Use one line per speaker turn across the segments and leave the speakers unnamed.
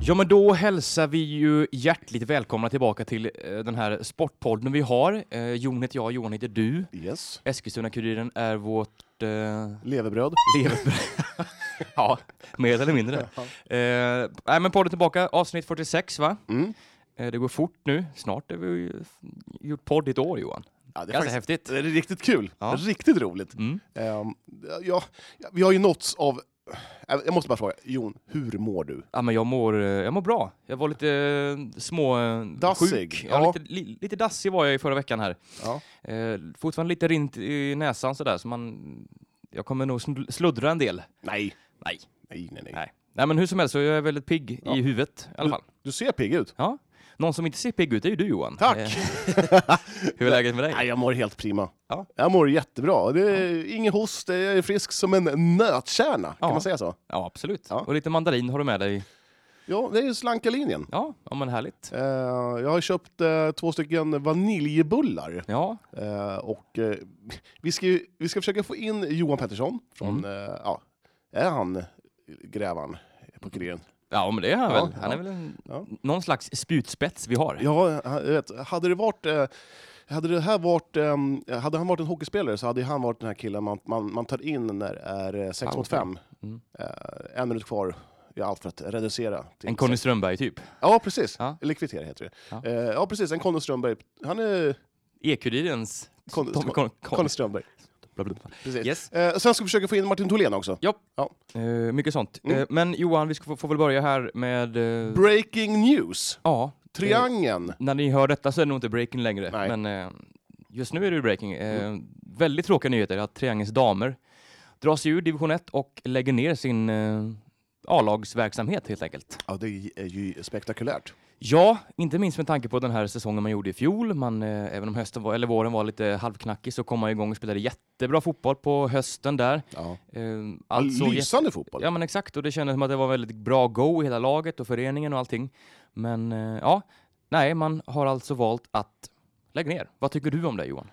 Ja, men då hälsar vi ju hjärtligt välkomna tillbaka till eh, den här sportpodden vi har. Eh, Jon heter jag, Johan heter du.
Yes.
Eskilstuna-Kuriren är vårt eh,
Levebröd.
levebröd. ja, mer eller mindre. Eh, nej, men podden tillbaka, avsnitt 46 va?
Mm.
Eh, det går fort nu. Snart har vi ju f- gjort podd i ett år Johan.
Ja, det är
Ganska
faktiskt
häftigt.
det är riktigt kul.
Ja.
Riktigt roligt.
Mm.
Ehm, ja, ja, vi har ju nåtts av... Äh, Jag måste bara fråga, Jon, hur mår du?
Ja, men jag, mår, eh, jag mår bra. Jag var lite eh, små... eh,
Dassig,
sjuk.
ja.
Ja, lite, li, lite dassig var jag i förra veckan här.
Ja.
Eh, fortfarande lite rint i näsan sådär, så man... Jag kommer nog sl- sluddra en del.
Nej.
Nej.
Nej, nej, nej.
Nej. Nej, men hur som helst så är jag väldigt pigg
Ja. Mm.
i huvudet i alla fall.
Du ser pigg ut.
Ja. Någon som inte ser pigg ut är ju du Johan.
Tack!
Eh, hur är läget med dig?
Nej, jag mår helt prima.
Ja.
Jag mår jättebra. Det är ingen host, jag är frisk som en nötkärna. Kan
Ja.
man säga så?
Ja, absolut.
Ja.
Och lite mandarin har du med dig.
Ja, det är ju slanka linjen.
Ja, ja men härligt.
Eh, jag har köpt eh, två stycken vaniljbullar.
Ja,
Eh, och eh, vi, ska ju, vi ska försöka få in Johan Pettersson från,
Mm.
eh, ja, är han grävan
Mm.
på kuriren?
ja men det är han
Ja,
väl. Han
ja.
är väl en,
Ja.
någon slags spjutspets vi har.
Ja, han- jag vet, hade det varit, eh, hade det här varit, ehm, hade han varit en hockeyspelare så hade han varit den här killen man, man, man tar in när det är 6 mot 5.
Mm.
en minut kvar i allt för att reducera. till-
En Conny Strömberg typ.
Ja, precis.
Ja.
Eller kvittera heter det.
Ja.
Ja, ja precis. En Conny Strömberg. Han är
E E-Kurirens...
Conny-
Tommy Con- Con-
Conny Strömberg.
blablabla.
Precis.
Yes.
Eh, sen ska vi försöka få in Martin Tholén också.
Eh, mycket sånt.
Mm.
Eh, men Johan, vi ska få, får väl börja här med... eh,
Breaking news.
ja. Eh,
Triangeln.
när ni hör detta så är det nog inte breaking längre.
Nej.
Men eh, just nu är det ju breaking. Eh, Väldigt tråkiga nyheter att Triangelns damer drar sig ur division 1 och lägger ner sin eh, A-lagsverksamhet helt enkelt.
Ja, det är ju spektakulärt.
Ja, inte minst med tanke på den här säsongen man gjorde i fjol. Man, eh, även om hösten var, eller våren var lite halvknackig så kom man igång och spelade jättebra fotboll på hösten där.
Ja.
Eh, allt såg jätte-
Lysande fotboll.
Ja men exakt, och det kändes som att det var väldigt bra go i hela laget och föreningen och allting. Men eh, ja, nej, man har alltså valt att lägga ner. Vad tycker du om det Johan?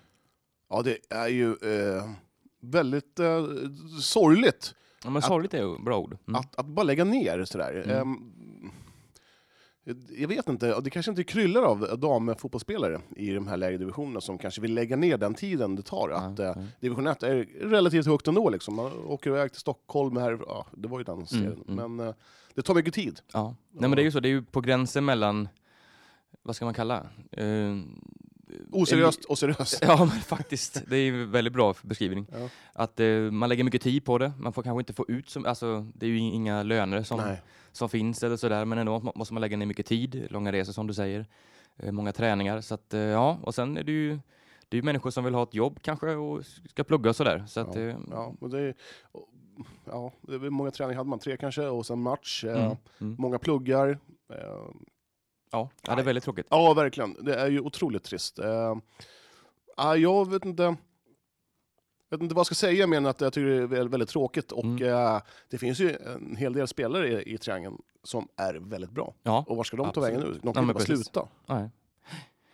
Ja, det är ju eh, väldigt eh, sorgligt
Ja, men sorgligt är ju bra ord. Mm.
att, att bara lägga ner sådär.
Mm.
Ehm, jag vet inte, det kanske inte kryllar av damfotbollsspelare i de här lägre divisionerna som kanske vill lägga ner den tiden det tar. Att,
Ja,
eh,
ja.
division 1 är relativt högt ändå, liksom. man åker iväg till Stockholm, här, ja, det var ju den serien,
mm.
men eh, det tar mycket tid.
Ja. Nej men det är ju så, det är ju på gränsen mellan, vad ska man kalla? Eh,
Oseriöst och seriöst.
Ja, men faktiskt. Det är ju en väldigt bra beskrivning.
Ja.
Att eh, man lägger mycket tid på det. Man får kanske inte få ut som, alltså det är ju inga löner som,
Nej.
som finns eller sådär, men ändå må- måste man lägga ner mycket tid, långa resor som du säger, eh, många träningar. Så att eh, ja, och sen är det ju det är ju människor som vill ha ett jobb kanske och s- ska plugga och sådär. Så att,
Ja,
eh,
Ja, och det är, och, ja, det är väl många träningar hade man? Tre kanske, och sen match. Eh,
Mm, mm.
Många pluggar. Eh,
ja, ja, det är väldigt tråkigt.
ja, verkligen. Det är ju otroligt trist. Eh, ja, jag vet inte, vet inte vad jag ska säga mer än att jag tycker det är väl- väldigt tråkigt. Och
Mm.
eh, Det finns ju en hel del spelare i, i Triangeln som är väldigt bra.
Ja,
Och var ska de
Absolut.
ta vägen nu? De
Ja,
kan ju
men
bara
precis.
sluta.
nej.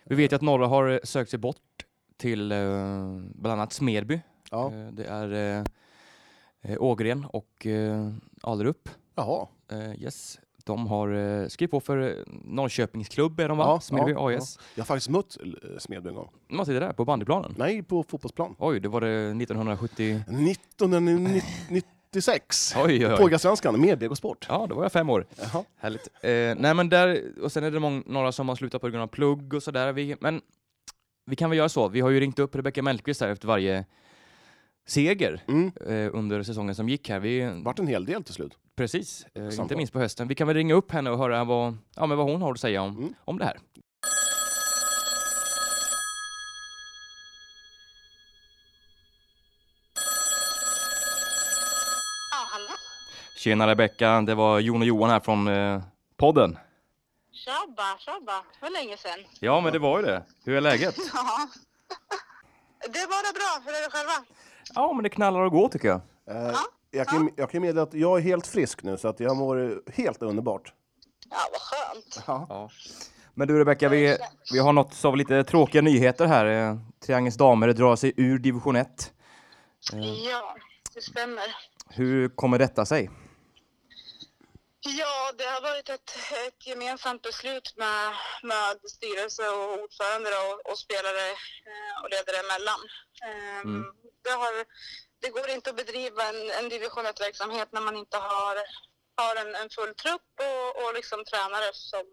Vi vet ju att några har eh, sökt sig bort till eh, bland annat Smedby
Ja.
Eh, Det är eh, eh, Ågren och eh, Alerup.
Jaha.
Eh, yes. De har eh, skrivit på för eh, Norrköpings klubb är de va?
Ja,
Smedby
ja,
AIS.
Jag har faktiskt mött eh, Smedby en gång.
Man sitter där på bandyplanen.
Nej, på fotbollsplan.
Oj, det var det 1970.
1996.
Oj, oj, oj.
Pågasvenskan med BK Sport.
Ja, då var jag fem år.
Jaha.
Härligt. Eh, nej men där, och sen är det många, några som har slutat på grund av plugg och sådär. Vi, men vi kan väl göra så, vi har ju ringt upp Rebecka Mellqvist här efter varje seger
Mm.
eh, under säsongen som gick här. Vi,
vart en hel del till slut.
Precis, eh, inte
Samtal.
minst på hösten. Vi kan väl ringa upp henne och höra vad, ja, men vad hon har att säga om,
Mm.
om det här.
Ja, hallå?
Tjena Rebecka, det var Jon och Johan här från eh, podden.
Tja, Tjabba, tjabba. Det var länge sedan.
Ja, men det var ju det. Hur är läget?
Ja. Det är bara bra. Hur är det själva?
Ja, men det knallar och går tycker jag.
Eh, jag, kan, jag kan meddela att jag är helt frisk nu, så att jag mår helt underbart.
Ja, vad skönt.
Ja. Men du Rebecka, vi, vi har något av lite tråkiga nyheter här. Eh, Triangelns damer drar sig ur division 1.
Ja, det stämmer.
Hur kommer detta sig?
Ja, det har varit ett, ett gemensamt beslut med, med styrelse och ordförande då, och, och spelare eh, och ledare emellan. Ehm, det, har, det går inte att bedriva en, en division 1-verksamhet när man inte har, har en, en full trupp och, och liksom tränare som,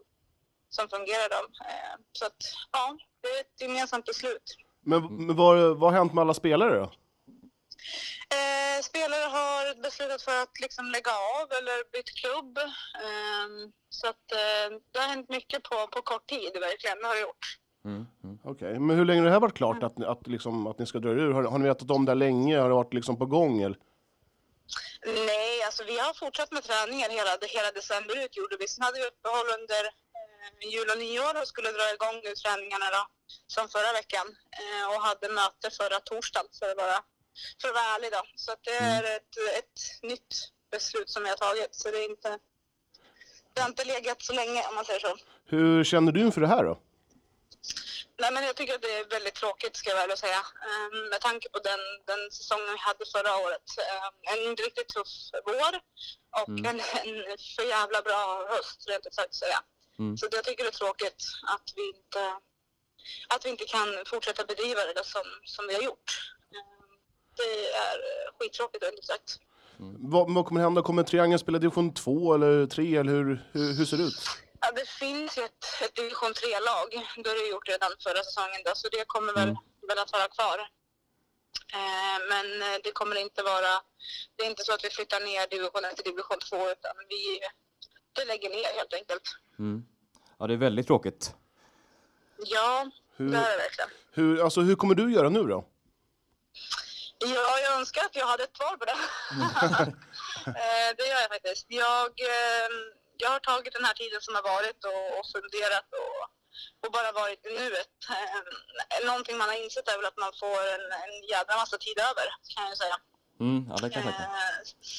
som fungerar dem. Ehm, så att, ja, det är ett gemensamt beslut.
Men, men vad, vad har hänt med alla spelare då?
Eh, spelare har beslutat för att liksom lägga av eller bytt klubb. Ehm, så att, eh, det har hänt mycket på, på kort tid, verkligen. Det har det gjort.
Mm,
Okej, men hur länge har det här varit klart att, ni- att, liksom, att ni ska dra er ur? Har, har ni vetat om det här länge? Har det varit liksom på gång? Eller?
Nej, alltså vi har fortsatt med träningar hela, hela december ut gjorde vi. Sen hade vi uppehåll under eh, jul och nyår och skulle dra igång nu träningarna då, som förra veckan. Eh, och hade möte förra torsdagen för att vara, för att vara ärlig då. Så att det är ett, ett nytt beslut som vi har tagit. Så det är inte... Det har inte legat så länge om man säger så.
Hur känner du inför det här då?
Nej, men jag tycker att det är väldigt tråkigt ska jag väl säga. Ehm, Med tanke på den, den säsongen vi hade förra året. Ehm, En riktigt tuff vår och en, en för jävla bra höst rent ut sagt säga.
Mm.
Så det- jag tycker det är tråkigt att vi inte, att vi inte kan fortsätta bedriva det där som, som vi har gjort. Ehm, Det är eh, skittråkigt rent ut sagt.
Vad, vad kommer hända? Kommer Triangeln spela division 2 eller 3? Eller hur, hur, hur ser det ut?
Ja, det finns ju ett, ett division 3-lag. Det har det gjort redan förra säsongen. Då, så det kommer väl, väl att vara kvar. Eh, men eh, det kommer inte vara... Det är inte så att vi flyttar ner division 1 till division 2 utan vi det lägger ner helt enkelt.
mm. Ja, det är väldigt tråkigt.
Ja,
Hur-
det är det verkligen.
Hur, alltså, hur kommer du göra nu då?
Ja, jag önskar att jag hade ett svar på det. Eh, det gör jag faktiskt. Jag, eh, jag har tagit den här tiden som har varit och, och funderat och, och bara varit i nuet. Eh, Någonting man har insett är väl att man får en, en jädra massa tid över, kan jag ju säga.
Mm, ja, det kan jag tänka.
Eh,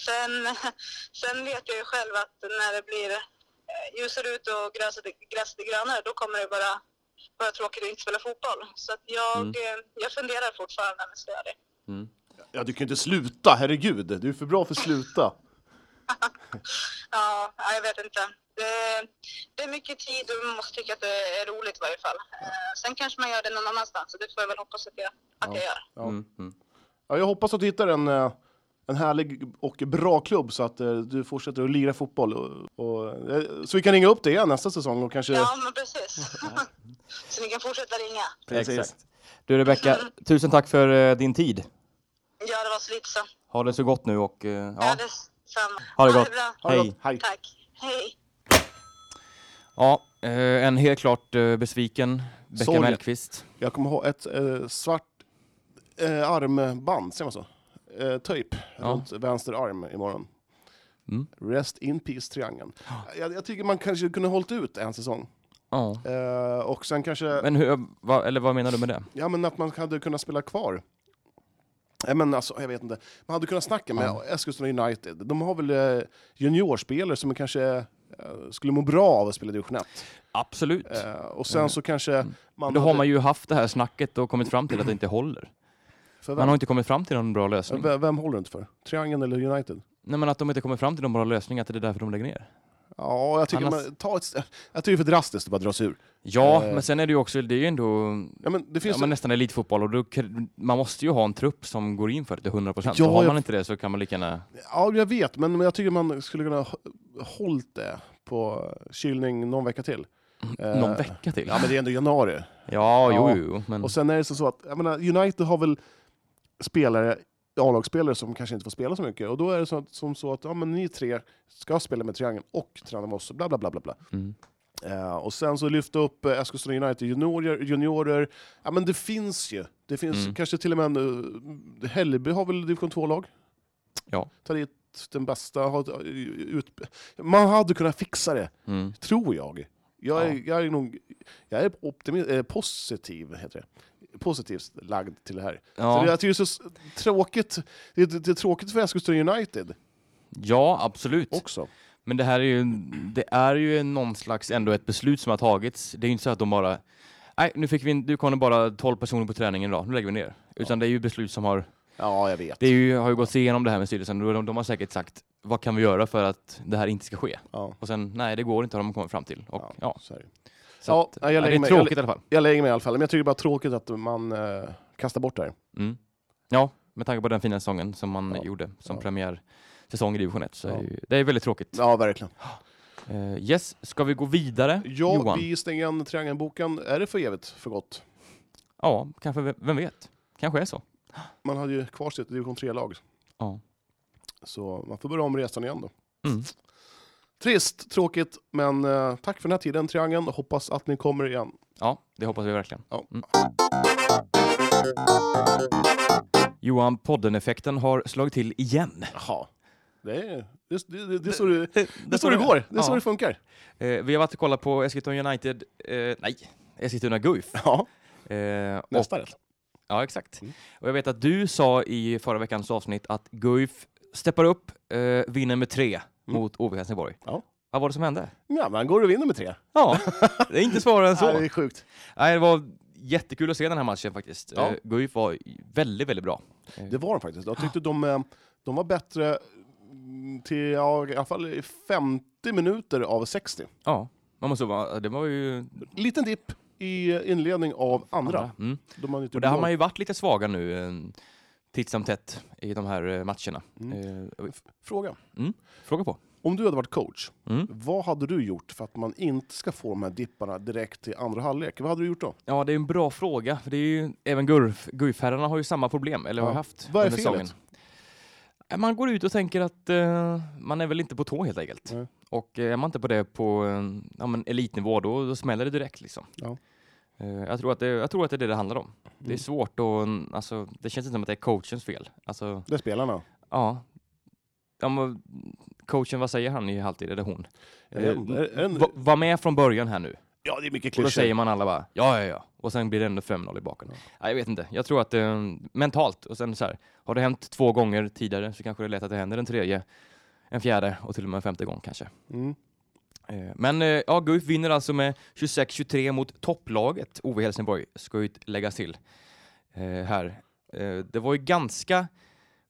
sen, sen vet jag ju själv att när det blir eh, ljusare ut och gräset, gräset är grönare, då kommer det bara vara tråkigt att inte spela fotboll. Så att jag, eh, jag funderar fortfarande om jag ska göra det.
Ja, du kan ju inte sluta, herregud. Du är för bra för att sluta.
Ja, ja, jag vet inte. Det, det är mycket tid och man måste tycka att det är roligt i varje fall. Eh, Sen kanske man gör det någon annanstans, så det får jag väl hoppas att jag, att jag gör.
Mm, mm.
Ja, jag hoppas att du hittar en, eh, en härlig och bra klubb så att eh, du fortsätter att lira fotboll. Och, och, eh, så vi kan ringa upp dig igen nästa säsong och kanske...
Ja, men precis. så ni kan fortsätta ringa.
Precis.
Exakt. Du Rebecka, tusen tack för eh, din tid.
Ja, det var så lite så.
Ha det så gott nu och eh,
Ja,
ja,
det är samma.
ha det gott.
bra.
Ha det
Hej.
gott. Hej.
Tack. Hej.
Ja, eh, en helt klart eh, besviken Becka
Sorgen.
Mellqvist.
Jag kommer ha ett eh, svart eh, armband, säger man så? Eh, tejp runt vänster arm imorgon.
Mm.
Rest in peace triangeln. Jag, jag tycker man kanske kunde hållit ut en säsong.
Ja.
Eh, och sen kanske,
Men hur, vad, eller vad menar du med det?
ja men att man hade kunnat spela kvar. Nej men alltså, jag vet inte. Man hade kunnat snacka med Eskilstuna United. De har väl eh, juniorspelare som kanske eh, skulle må bra av att spela division 1.
Absolut.
Eh, och sen så kanske man...
Mm. Men då har
hade-
man ju haft det här snacket och kommit fram till att det inte håller.
för
Man
vem,
har inte kommit fram till någon bra lösning.
vem, vem håller du inte för? Triangeln eller United?
Nej, men att de inte kommer fram till någon bra lösning, att det är därför de lägger ner.
Ja, jag tycker,
Annars-
man, ta ett, st- jag tycker det är för drastiskt att bara dra sig ur.
Ja,
Eh.
men sen är det ju också, det är ju ändå
Ja, men det
ja,
finns
men nästan elitfotboll och då, kr- man måste ju ha en trupp som går in för det till 100 procent.
Ja,
har
jag-
man inte det så kan man lika gärna...
ja, jag vet, men men jag tycker man skulle kunna h- hållit det på kylning någon vecka till. Eh,
Någon vecka till?
Ja, men det är ändå januari.
Ja,
Ja.
jo, jo, jo, men...
Och sen är det så så att jag menar, United har väl spelare, A-lagsspelare som kanske inte får spela så mycket. Och då är det så att, som så att ja, men ni tre ska spela med Triangeln och träna med oss, bla bla bla. bla, bla.
Mm.
Eh, och sen så lyfta upp eh, Eskilstuna United juniorer, juniorer. Ja, men det finns ju. Det finns
Mm.
kanske till och med en... eh, Hälleby har väl division 2-lag?
Ja.
Ta dit den bästa. ha ett, eh, Ut... Man hade kunnat fixa det,
Mm.
tror jag. Jag är,
Ja.
jag är nog jag är optimi- eh, positiv, heter det. positivt lagd till det här. Så
Ja.
det, jag tycker det är så s- tråkigt. Det, det, det är tråkigt för Eskilstuna United
Ja, absolut.
också.
Men det här är ju, det är ju någon slags ändå ett beslut som har tagits. Det är ju inte så att de bara, nej nu fick vi, in- nu kom det bara 12 personer på träningen idag, nu lägger vi ner. Utan det är ju beslut som har,
Ja, jag vet.
det är ju, har ju gått igenom det här med styrelsen och de, de har säkert sagt, vad kan vi göra för att det här inte ska ske?
Ja,
Och sen, nej det går inte har de kommit fram till. Och,
ja,
ja.
Så är det.
Så
Ja,
att,
jag
ja, det
lägger
är
mig-
tråkigt i alla fall.
Jag lägger mig i alla fall, men jag tycker det är bara tråkigt att man eh, kastar bort det här.
Mm. Ja, med tanke på den fina säsongen som man
Ja.
gjorde som
Ja.
premiärsäsong i division 1 så
Ja.
är det, ju, det är väldigt tråkigt.
Ja, verkligen.
Eh, yes, ska vi gå vidare
Ja,
Johan?
vi stänger igen triangelboken. Är det för evigt för gott?
Ja, kanske, v- vem vet? Kanske är så.
Man hade ju kvar sitt division 3-lag,
Ja.
så man får börja om resan igen då.
Mm.
Trist, tråkigt, men eh, tack för den här tiden triangeln. Hoppas att ni kommer igen.
Ja, det hoppas vi verkligen.
Ja.
Mm. Johan, podden-effekten har slagit till igen.
Jaha. Det är, det, det, det, det är så det, det, är så det går, det är så
Ja.
det funkar.
Eh, vi har varit och kollat på Eskilstuna United, eh, nej, Eskilstuna Guif.
Ja,
Eh, och,
nästa rätt.
ja, exakt.
Mm.
Och jag vet att du sa i förra veckans avsnitt att Guif steppar upp, eh, vinner med tre mot OV Helsingborg.
Mm. Ja.
Vad var det som hände?
Ja, man går och vinner med tre.
Ja, det är inte svårare än så.
Nej, det är sjukt.
Nej, det var jättekul att se den här matchen faktiskt.
Ja.
Ja. Guif var väldigt, väldigt bra.
Det var de faktiskt. Jag tyckte de, eh, de var bättre mm, till ja, i alla fall i 50 minuter av 60.
Ja, man måste vara, det var ju
Liten dipp i inledning av andra.
Mm.
Då man inte
Och där har
gjorde
man
mål.
ju varit lite svaga nu eh, titt som tätt i de här eh, matcherna.
Mm.
Eh,
Fråga.
Fråga på.
Om du hade varit coach,
Mm.
vad hade du gjort för att man inte ska få de här dipparna direkt till andra halvlek? Vad hade du gjort då?
Ja, det är en bra fråga. För det är ju, även Gurf- Guifherrarna har ju samma problem, eller har
Ja.
haft
Vad är
under säsongen.
felet?
Eh, Man går ut och tänker att eh, man är väl inte på tå helt enkelt.
Nej.
Och eh, är man inte på det på eh, ja, men elitnivå, då, då smäller det direkt. Liksom.
Ja.
Eh, jag, tror att det, jag tror att det är det det handlar om. Det är
Mm.
svårt och mm, alltså, det känns inte som att det är coachens fel. Alltså,
Det är spelarna.
ja. ja men, coachen, vad säger han i halvtid? Eller hon?
Jag vet inte. Är- är det en-
Eh, Va- var med från början här nu.
Ja, det är mycket
Och då
klyschor.
säger man alla bara ja, ja, ja. Och sen blir det ändå 5-0 i baken.
Ja.
Ja, jag vet inte. Jag tror att eh, mentalt, och sen så här, har det hänt två gånger tidigare så kanske det är lätt att det händer en tredje, en fjärde och till och med en femte gång kanske.
Mm.
Eh, men eh, ja, Guif vinner alltså med 26-23 mot topplaget OV Helsingborg, ska ju läggas till eh, här. Eh, det var ju ganska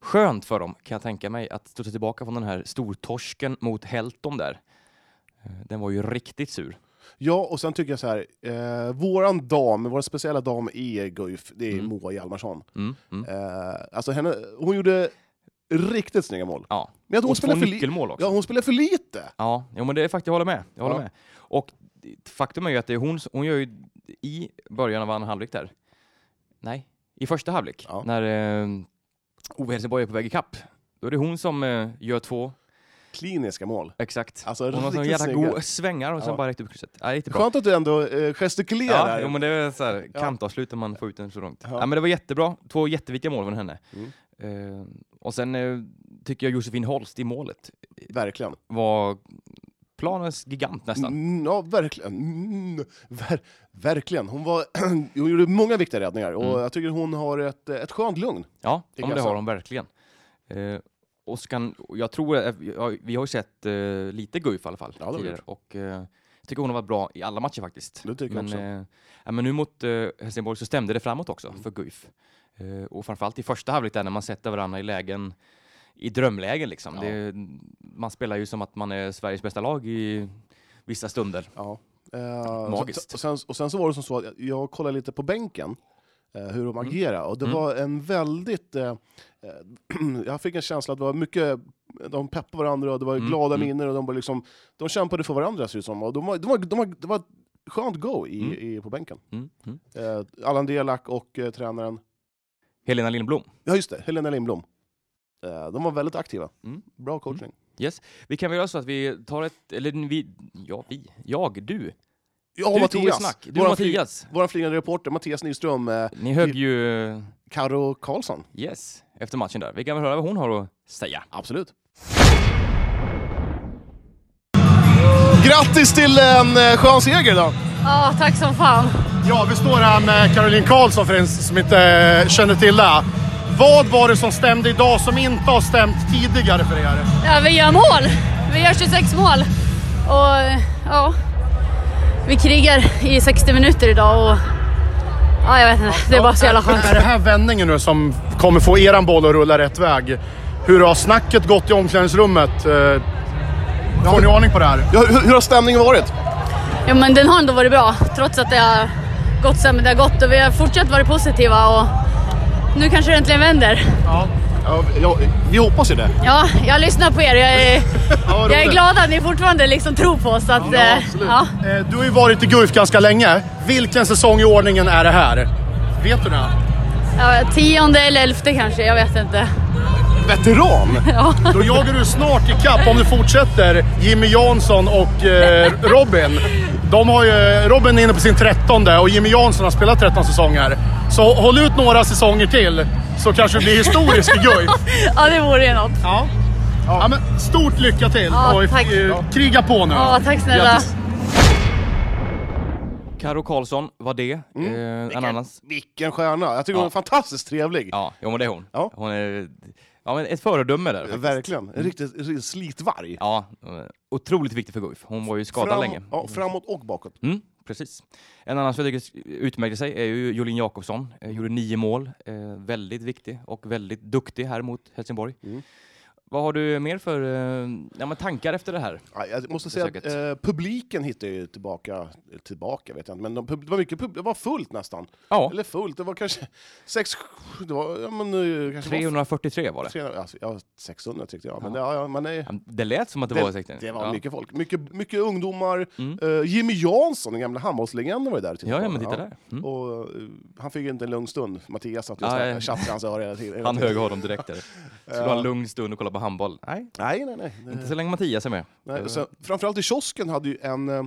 skönt för dem, kan jag tänka mig, att studsa tillbaka från den här stortorsken mot Helton där. Eh, den var ju riktigt sur.
Ja, och sen tycker jag så här. Eh, våran dam, vår speciella dam i Guif, det är
Mm.
Moa Hjalmarsson.
Mm, mm.
Eh, alltså henne, hon gjorde riktigt snygga mål.
Ja.
Men jag tror hon
Och två
spelade för lite.
nyckelmål också.
Ja, hon spelar för lite!
Ja, jo, men det är faktiskt, jag håller med. Jag håller
Ja.
med. Och faktum är ju att det är hon, hon gör ju i början av andra halvlek där. Nej, i första halvlek.
Ja.
När eh, Ove Helsingborg är på väg ikapp. Då är det hon som eh, gör två,
Kliniska mål.
exakt.
Alltså
hon har sån
riktigt
jävla
snygga.
go- svängar och sen
Ja.
bara rätt upp i krysset. Ja, det är inte bra.
Skönt att du ändå eh, gestikulerar.
Ja, jo, men det är så här,
Ja.
kantavslut om man får ut den så långt.
Ja.
Ja. men det var jättebra. Två jätteviktiga mål från henne.
Mm.
Eh, och sen eh, tycker jag Josefin Holst i målet
Verkligen.
var planens gigant nästan.
Mm, ja, verkligen. Mm, ver verkligen. Hon, var hon gjorde många viktiga räddningar och
Mm.
jag tycker hon har ett, eh, ett skönt lugn.
Ja,
Det
ja
kan
men
jag
det
säga.
har de verkligen. Eh, och skan, och jag tror, eh, ja, vi har ju sett eh, lite Guif i alla fall
Ja, det har vi
tidigare
gjort.
och eh, jag tycker hon har varit bra i alla matcher faktiskt.
Det tycker jag
men,
också.
eh, ja, men nu mot eh, Helsingborg så stämde det framåt också
Mm.
för Guif. Eh, och framförallt i första halvlek där när man sätter varandra i lägen, i drömlägen liksom.
Ja.
Det, man spelar ju som att man är Sveriges bästa lag i vissa stunder.
Ja. Eh,
Magiskt.
så- Och sen, och sen så var det som så att jag- jag kollade lite på bänken, eh, hur de agerade, och det
Mm.
var en väldigt... Eh, eh, jag fick en känsla att det var mycket... De peppade varandra och det var
Mm,
glada
mm.
miner och de, var liksom, de kämpade för varandra ser det ut som. Och de var, de var, de var, det var ett skönt go i,
Mm.
i, på bänken.
Mm. Mm.
Eh, Allan Delak och eh, tränaren...
Helena Lindblom.
Ja just det, Helena Lindblom. Eh, de var väldigt aktiva.
Mm.
Bra coaching.
Vi kan väl göra så att vi tar ett, eller vi, ja vi, jag, du. du
Ja,
tog ett
Mattias!
snack. Du
Våran fly-
Mattias.
Vår flygande reporter Mattias Nyström, eh,
Ni högg ju eh,
Karo Karlsson.
Yes, efter matchen där. Vi kan väl höra vad hon har att säga.
Absolut. Grattis till en eh, skön seger idag!
Ja, tack som fan.
Ja, vi står här med Caroline Karlsson för en som inte eh, känner till det. Vad var det som stämde idag som inte har stämt tidigare för er?
Ja, vi gör mål. Vi gör 26 mål. Och ja, vi krigar i 60 minuter idag och ja, jag vet inte. Det är bara så jävla skönt.
Är det här vändningen nu som kommer få eran boll att rulla rätt väg? Hur har snacket gått i omklädningsrummet? Eh, Får ni aning på det här?
Ja, hur, hur har stämningen varit?
Jo, men den har ändå varit bra trots att det har gått sämre det har gått och vi har fortsatt varit positiva och nu kanske det äntligen vänder.
Ja.
Ja, ja, vi hoppas ju det.
Ja, jag lyssnar på er. Jag är,
vad
jag är
roligt.
glad att ni fortfarande liksom tror på oss. så Att, eh, ja.
Eh, Du har ju varit i Guif ganska länge. Vilken säsong i ordningen är det här? Vet du det?
Ja, tionde eller elfte kanske, jag vet inte.
Veteran!
Då jagar du snart ikapp om du fortsätter Jimmy Jansson och eh, Robin. De har ju, Robin är inne på sin trettonde och Jimmy Jansson har spelat 13 säsonger. Så håll ut några säsonger till så kanske du blir historisk i Guif.
Ja, det vore ju något.
Ja. Ja, men stort lycka till
Ja,
och
tack.
eh, kriga på nu.
Ja, tack snälla.
Grattis.
Karo Karlsson var
Mm,
det. Eh, en annan...
Vilken stjärna! Jag tycker hon är fantastiskt trevlig.
Ja, jo, men det är hon.
Ja.
Hon är ja, men ett föredöme där. faktiskt.
Verkligen.
Mm.
En riktigt, riktigt slitvarg.
Ja, eh, otroligt viktig för Guif. Hon var ju skadad
Fram-
länge.
Ja, framåt och bakåt.
Mm, precis. En annan som jag tycker utmärkte sig är ju Jolin Jakobsson. Eh, gjorde nio mål. Eh, väldigt viktig och väldigt duktig här mot Helsingborg.
Mm.
Vad har du mer för eh, ja, men tankar efter det här?
Ja, jag måste
Det är
säga att eh, publiken hittade ju tillbaka, tillbaka vet jag inte, men de, pub- det, var mycket, pub- det var fullt nästan.
Ja,
Eller fullt, det var kanske sex, sju- det var, ja, men, eh, kanske
343 var det.
300, alltså, ja, 600 tyckte jag. Men,
Ja.
det- ja, ja, men det,
Ja, Det lät som att det, var säkert.
det var
ja.
mycket folk. Mycket, mycket ungdomar.
Mm.
Eh, Jimmy Jansson, den gamla handbollslegenden, var ju där och tittade
Ja, ja,
på.
men titta där. Mm.
Och, eh, han fick ju inte en lugn stund. Mattias satt
Nej.
och tjattrade i hans öra hela tiden.
Han hög honom direkt. Där. Skulle ha en lugn stund och kolla på handboll. Nej,
Nej, nej, nej.
inte så länge Mattias är med.
Nej, och sen, framförallt i kiosken hade ju en, eh,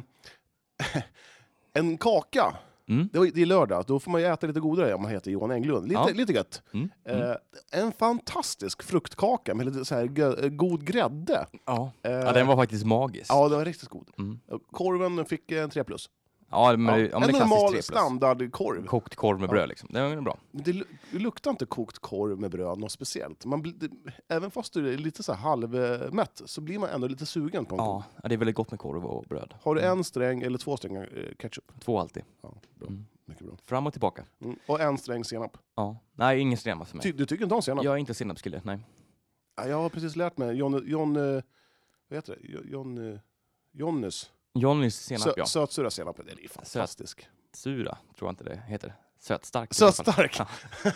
en kaka.
Mm.
Det, var, det är lördag, då får man ju äta lite godare om man heter Johan Englund. Lite,
Ja.
lite gött.
Mm.
Eh, en fantastisk fruktkaka med lite så här gö- eh, god grädde.
Ja.
Eh,
ja, den var faktiskt magisk. Ja,
ja, den var riktigt god.
Mm.
Korven fick en 3 plus.
men, ja,
en
men det är klassiskt
normal
tre plus.
standardkorv.
Kokt korv med bröd liksom. Det var bra.
Men Det lu- det luktar inte kokt korv med bröd något speciellt. Man blir, det, även fast du är lite så här halvmätt så blir man ändå lite sugen på en korv.
Ja, Mm. ja, det är väldigt gott med korv och bröd.
Har du en sträng eller två strängar eh, ketchup?
Två alltid.
Ja, bra.
Mm.
Mycket bra.
Fram och tillbaka.
Mm. Och en sträng senap.
Ja. Nej, ingen senap för mig.
Ty, du tycker inte om senap?
Jag är inte senapskille, nej.
Ja, jag har precis lärt mig. John, John, eh, vad heter det? Jo- John, eh, Johnnys
Johnnys senap,
Sö,
ja.
sötsura senap. Den är fantastisk.
Sura, tror jag inte det heter. Sötstark. i alla fall.
Sötstark!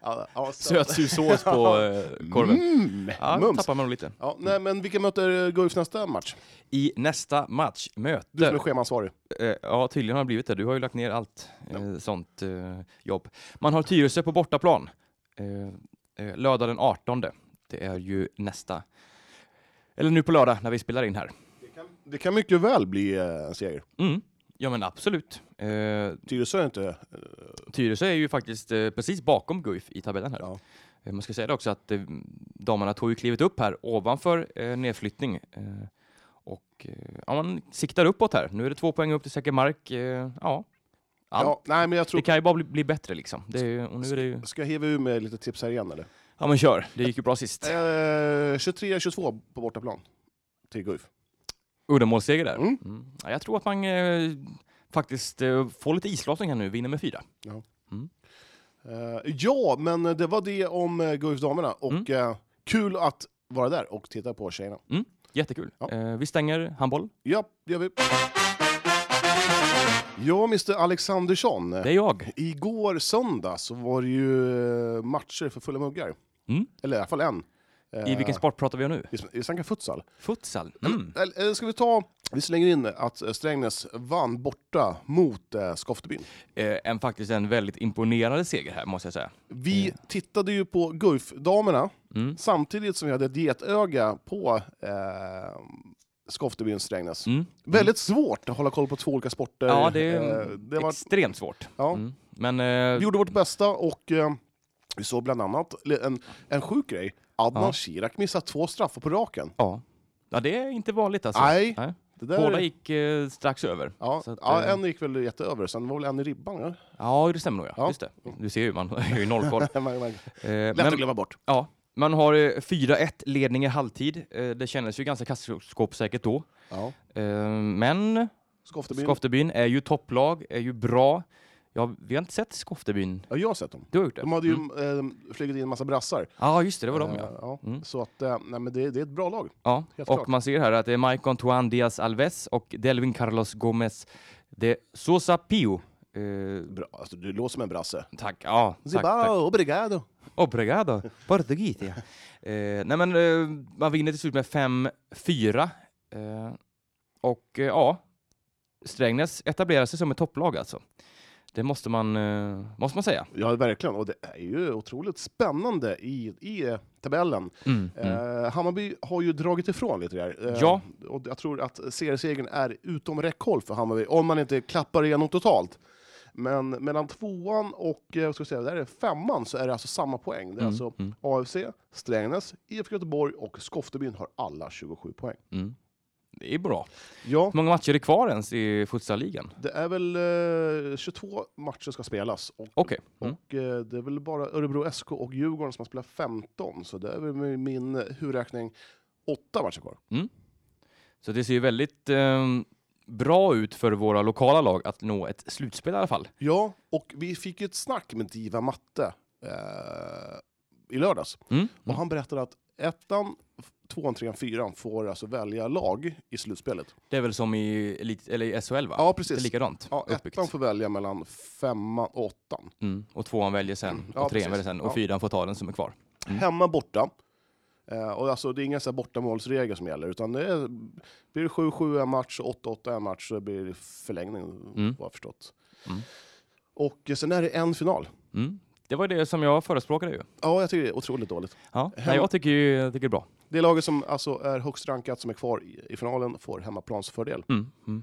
Ja, ja, söt-
Sötsur sås på eh, korven.
Mm,
Ja,
mums!
tappar man nog lite.
Ja, nej, men vilka möter eh, Guif nästa match?
I nästa match, möte.
Du som är schemaansvarig.
Eh, Ja, tydligen har det blivit det. Du har ju lagt ner allt eh, sånt eh, jobb. Man har Tyresö på bortaplan. Eh, eh, lördag den 18. Det är ju nästa... Eller nu på lördag när vi spelar in här.
Det kan mycket väl bli eh, en seger.
Mm. Ja men absolut. Eh,
Tyresö är inte...
Tyresö är ju faktiskt eh, precis bakom Guif i tabellen här.
Ja.
Eh, man ska säga det också att eh, damerna tog ju klivet upp här ovanför eh, nedflyttning. Eh, och eh, ja, man siktar uppåt här. Nu är det två poäng upp till säker mark. Eh, ja. Allt
Ja, nej, men jag tror...
Det kan ju bara bli, bli bättre liksom. Det är ju, och nu är det ju...
Ska jag heva ur med lite tips här igen eller?
Ja men kör, det gick ju bra sist.
Eh, 23-22 på bortaplan till Guif.
Uddamålsseger där.
Mm.
Mm. Ja, jag tror att man eh, faktiskt eh, får lite islossning här nu, vinner med fyra.
Eh, ja, men det var det om eh, Guif damerna och
Mm.
eh, kul att vara där och titta på tjejerna.
Jättekul.
Ja.
Eh, vi stänger handboll.
Ja, det gör vi. Ja, Mr Alexandersson.
Det är jag.
Igår söndag så var det ju eh, matcher för fulla muggar.
Mm.
Eller i alla fall en. Eh,
I vilken sport pratar vi om nu?
vi sn- Vi snackar futsal.
Futsal. Mm.
Eller, eller ska vi ta... Vi slänger in att eh, Strängnäs vann borta mot eh, Skoftebyn.
Eh, en, faktiskt en väldigt imponerande seger här måste jag säga.
Vi tittade ju på Guif-damerna
Mm.
samtidigt som vi hade ett getöga på eh, Skoftebyn Strängnäs.
Mm.
Väldigt svårt att hålla koll på två olika sporter.
Ja, det är
Eh, det var,
extremt svårt.
ja.
Mm. Men
Vi
eh,
gjorde vårt bästa och eh, vi såg bland annat en, en sjuk grej. Adnan
Ja.
Shirak missade två straffar på raken.
ja. ja, det är inte vanligt alltså.
Nej.
Nej.
Det- Det där,
Båda gick eh, strax över.
Ja,
Så att,
ja,
eh,
en gick väl jätteöver, sen var väl en i ribban. Ja?
ja, det stämmer nog. Ja.
Ja.
Just det. Du ser ju, man har ju noll koll. Eh,
Man- man- Lätt
men-
att glömma bort.
Ja, man har eh, 4-1 ledning i halvtid. Eh, Det kändes ju ganska kassaskåpssäkert då.
Ja.
Eh, Men
Skoftebyn.
Skoftebyn är ju topplag, är ju bra. Ja, vi har inte sett Skoftebyn.
Ja, jag har sett dem.
Du har gjort det?
De hade ju
Mm.
eh, flugit in en massa brassar.
Ja, just det, det var de
Eh,
ja. Mm.
Så att, eh, nej, men det, det är ett bra lag.
ja.
helt
Och
klart.
man ser här att det är Mike Antoine Diaz Alves och Delvin Carlos Gomez de Sosa Pio. Eh,
Bra. Alltså, du låter som en brasse.
tack, ja. Tack, tack.
Zibao, obrigado.
Obrigado, Portugita. eh, nej men eh, man vinner till slut med 5-4. Eh, och eh, ja, Strängnäs etablerar sig som ett topplag alltså. Det måste man, eh, måste man säga.
Ja, verkligen. Och det är ju otroligt spännande i, i eh, tabellen.
Mm, mm.
Eh, Hammarby har ju dragit ifrån lite där. Eh,
Ja.
Och jag tror att seriesegern är utom räckhåll för Hammarby, om man inte klappar igenom totalt. Men mellan tvåan och eh, vad ska jag säga, där är femman så är det alltså samma poäng. Det är
Mm,
alltså
mm.
AFC, Strängnäs, IFK Göteborg och Skoftebyn har alla 27 poäng.
Mm. Det är bra.
Ja,
Hur många matcher är kvar ens i futsalligan?
det är väl eh, 22 matcher ska spelas. Och,
Okej. Mm.
och eh, det är väl bara Örebro SK och Djurgården som har spelat 15, så det är väl med min huvudräkning åtta matcher kvar.
Så det ser ju väldigt eh, bra ut för våra lokala lag att nå ett slutspel i alla fall.
Ja, och vi fick ju ett snack med Diva Matte eh, i lördags.
Mm.
Och han berättade att ettan, f- tvåan, trean, fyran får alltså välja lag i slutspelet.
Det är väl som i, elit, eller i SHL va?
Ja,
Det är
precis.
likadant
Ja,
uppbyggt.
ettan får välja mellan femman och åttan.
Mm. Och tvåan väljer sen,
Ja,
och trean
precis.
väljer sen, och
Ja.
fyran får ta den som är kvar.
Hemma, borta. Eh, och alltså, det är inga så här bortamålsregler som gäller, utan det är, blir det 7-7 en match, 8-8 en match, så blir det förlängning,
Mm.
vad jag har förstått.
Mm.
Och eh, sen är det en final.
Mm. Det var det som jag förespråkade ju.
Ja, jag tycker det är otroligt dåligt.
Ja. Nej,
Hemma-
jag tycker ju jag tycker det är bra.
Det laget som alltså är högst rankat som är kvar i, i finalen får hemmaplansfördel.
Mm. Mm.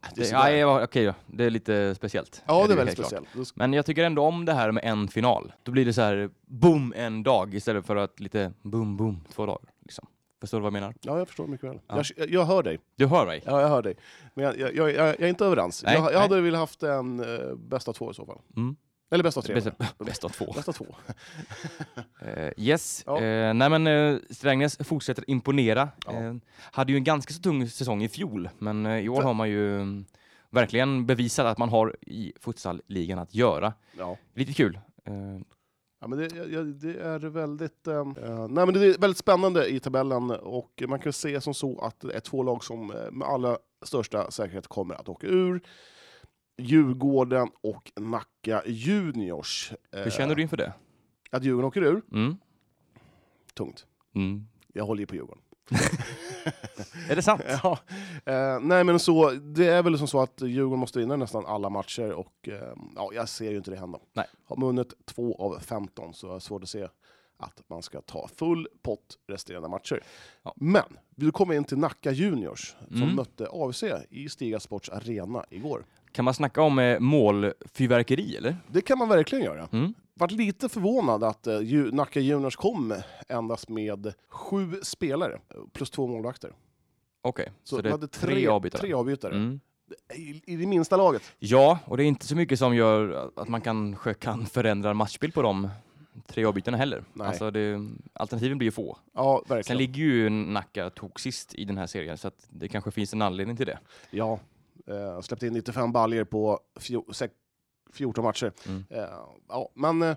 Ah, är
Det,
sådär.
nej, ja, okej, då. det är lite speciellt.
ja, det är
ju
väldigt
helt klart.
speciellt. Det sk-
Men jag tycker ändå om det här med en final. Då blir det så här boom en dag istället för att lite boom boom två dagar. Liksom. Förstår du vad jag menar?
Ja, jag förstår mycket väl.
Ja.
Jag, jag hör dig.
Du hör mig?
Ja, jag hör dig. Men jag, jag, jag, jag är inte överens.
Nej,
jag, jag
nej.
hade velat haft en eh, bästa två i så fall.
Mm.
Eller bästa tre. menar
Bäst,
jag.
bäst av två.
Bästa två.
Eh, yes.
Ja.
Eh, nej men eh, Strängnäs fortsätter imponera.
Ja.
Eh, hade ju en ganska så tung säsong i fjol, men eh, i år
För-
har man ju mm, verkligen bevisat att man har i futsalligan att göra.
Ja.
Lite kul. Eh,
Ja, men det, jag- jag, det är väldigt, eh, eh, nej, men det är väldigt spännande i tabellen och man kan se som så att det är två lag som eh, med allra största säkerhet kommer att åka ur. Djurgården och Nacka Juniors. Eh,
hur känner du inför det?
Att Djurgården åker ur,
Mm.
tungt.
Mm.
Jag håller ju på Djurgården.
Är det sant?
Ja. Eh, nej men så, det är väl som så att Djurgården måste vinna nästan alla matcher och eh, ja, jag ser ju inte det hända.
Nej.
Har man vunnit två av 15 så är det svårt att se att man ska ta full pott resterande matcher.
Ja.
Men, vi kommer in till Nacka Juniors som
Mm.
mötte AFC i Stiga Sports Arena igår.
Kan man snacka om eh, målfyrverkeri eller?
Det kan man verkligen göra.
Mm.
Vart lite förvånad att eh, Ju- Nacka Juniors kom endast med sju spelare eh, plus två målvakter.
Okej, så, det
de
är
hade
tre, avbytare.
Tre avbytare.
Mm.
I, I det minsta laget.
Ja, och det är inte så mycket som gör att man kanske kan förändra matchbild på de tre avbytarna heller.
Nej.
Alltså det, alternativen blir ju få.
Ja,
Sen
verkligen.
ligger ju Nacka tok sist i den här serien så att det kanske finns en anledning till det.
ja. Eh, släppte in 95 baljer på fjo- sex- 14 matcher.
Mm.
Eh, ja, men eh,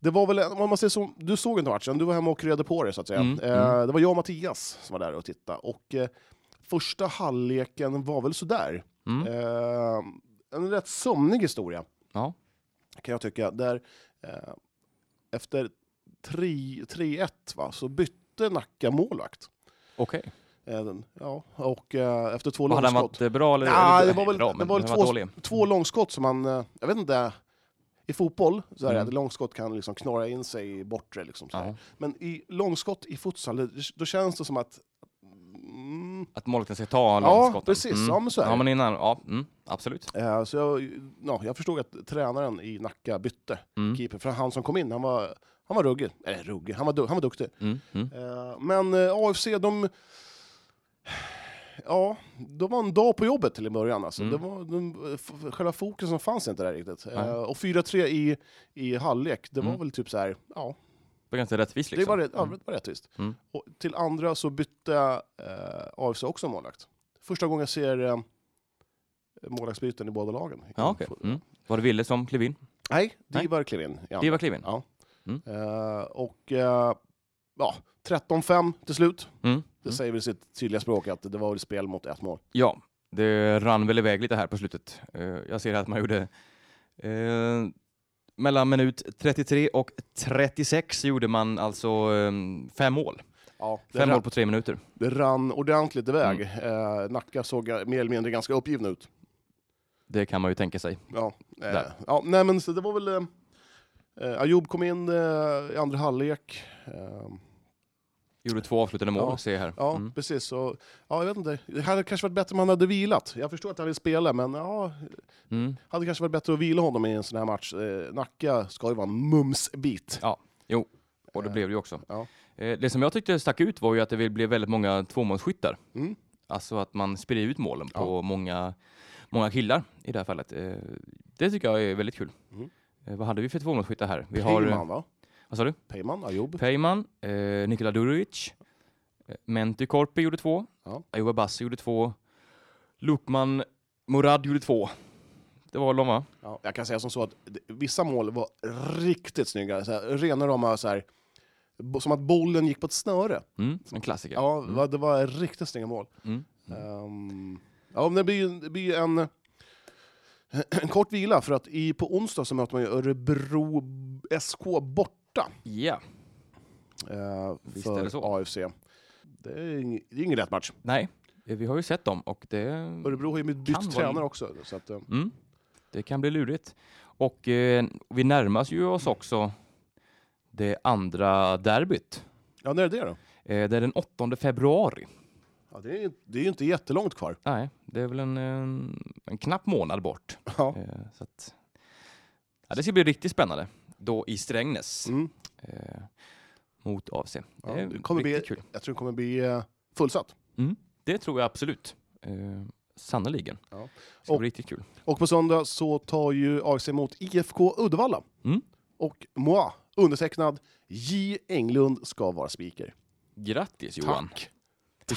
det var väl, en- om man säger så, du såg inte matchen, du var hemma och kryddade på det så att säga.
Mm,
Eh, Det var jag och Mattias som var där och tittade. Och eh, första halvleken var väl sådär.
Mm.
Eh, en rätt sömnig historia.
Ja.
Kan jag tycka. Där eh, efter tre- 3-1 va, så bytte Nacka målvakt.
Okej.
Eh, den- Ja, och eh, efter två
Vad Hade han
långskott.
varit bra eller?
Nej,
eller-
det var väl,
bra,
det
men
var väl
han
två,
dålig.
två långskott som man... eh, Jag vet inte. I fotboll så är det
Mm.
att långskott kan liksom knorra in sig i bortre. Liksom, så här.
Ja.
Men i långskott i futsal, det- då känns det som att... Mm,
Att målvakten ska ta
Ja,
långskotten. Mm.
precis. Ja, men så är
ja,
det.
men innan, ja, mm, absolut.
eh, så jag, ja, jag förstod att tränaren i Nacka bytte
Mm.
keeper. För han som kom in, han var, han var ruggig. Eller Eh, ruggig, han var, du, han var duktig.
Mm. Mm.
Eh, Men eh, AFC, de... ja, det var en dag på jobbet till en början. Alltså. Det var, de, f- själva fokusen fanns inte där riktigt. Eh, och 4-3 i, i halvlek, det var väl typ så här, ja,
Det var ganska rättvist
det
liksom.
var, rätt, ja, det var rättvist.
Mm.
Och till andra så bytte eh, AFC också målvakt. Första gången jag ser eh, målvaktsbyten i båda lagen.
Ja, okej. mm. Var det Ville som klev in?
Nej,
Nej.
Divar klev in. i andra.
Diva klev in?
Ja.
Mm.
Eh, och eh, ja, 13-5 till slut.
Mm.
Det säger väl sitt tydliga språk att det var väl spel mot ett mål.
Ja, det rann väl iväg lite här på slutet. Eh, Jag ser att man gjorde eh, mellan minut 33 och 36 gjorde man alltså eh, fem mål.
Ja, det,
Fem mål
rann,
på Mm. tre minuter.
det rann ordentligt iväg. Eh, Nacka såg eh, mer eller mindre ganska uppgivna ut.
Det kan man ju tänka sig.
Ja, eh,
Där.
ja, nej men så det var väl... Eh, eh, Ayoub kom in eh, i andra halvlek. Eh,
Gjorde två avslutande mål,
Ja.
ser jag här.
ja,
Mm.
precis. Så, ja, jag vet inte. Det hade kanske varit bättre om han hade vilat. Jag förstår att han vill spela, men ja,
Mm.
hade kanske varit bättre att vila honom i en sån här match. Eh, Nacka ska ju vara en mumsbit.
Och det blev det ju också.
Ja.
Eh, Det som jag tyckte stack ut var ju att det blev väldigt många tvåmålsskyttar.
Mm.
Alltså att man sprider ut målen på många, många killar i det här fallet. Eh, Det tycker jag är väldigt kul.
Mm.
Eh, Vad hade vi för tvåmålsskyttar här? Vi har, eh,
Peyman, va?
vad sa du?
Peyman, Ayoub.
Peyman, eh, Nikola Durovic, eh, Menti Korpi gjorde två,
Ja.
Ayoub Abassi gjorde två, Lukman Murad gjorde två. Det var väl de va?
Ja, jag kan säga som så att d- vissa mål var riktigt snygga. Så här, rena rama, så här, bo- som att bollen gick på ett snöre.
Mm, en klassiker.
Ja, va- det var riktigt snygga mål.
Mm.
Ehm, ja, men det blir ju det blir ju en, en kort vila, för att i, på onsdag så möter man ju Örebro SK borta
Ja.
eh,
Visst är
för
det så.
AFC. Det är, ing, det är ingen lätt match.
Nej, eh, vi har ju sett dem och det,
Örebro har ju
Kan
bytt
vara-
tränare också. Så att, eh,
mm, det kan bli lurigt. Och eh, vi närmar oss ju oss också det andra derbyt.
ja, när är det då?
Eh, det är den 8 februari.
Ja, det, är, ju- det är ju inte jättelångt kvar.
Nej, det är väl en, en, en knapp månad bort.
Ja.
Eh, Så att, ja, det ska bli riktigt spännande. Då i Strängnäs
Mm.
eh, mot AFC.
Ja,
det är
det kommer bli-
riktigt kul. Mm.
Jag tror det kommer bli eh, fullsatt.
Det tror jag absolut. Eh, sannoliken.
Ja.
Det ska
Och-
bli riktigt kul.
Och på söndag så tar ju AFC emot IFK Uddevalla.
Mm.
Och moi, undertecknad J. Englund, ska vara speaker.
Grattis Johan.
Tack!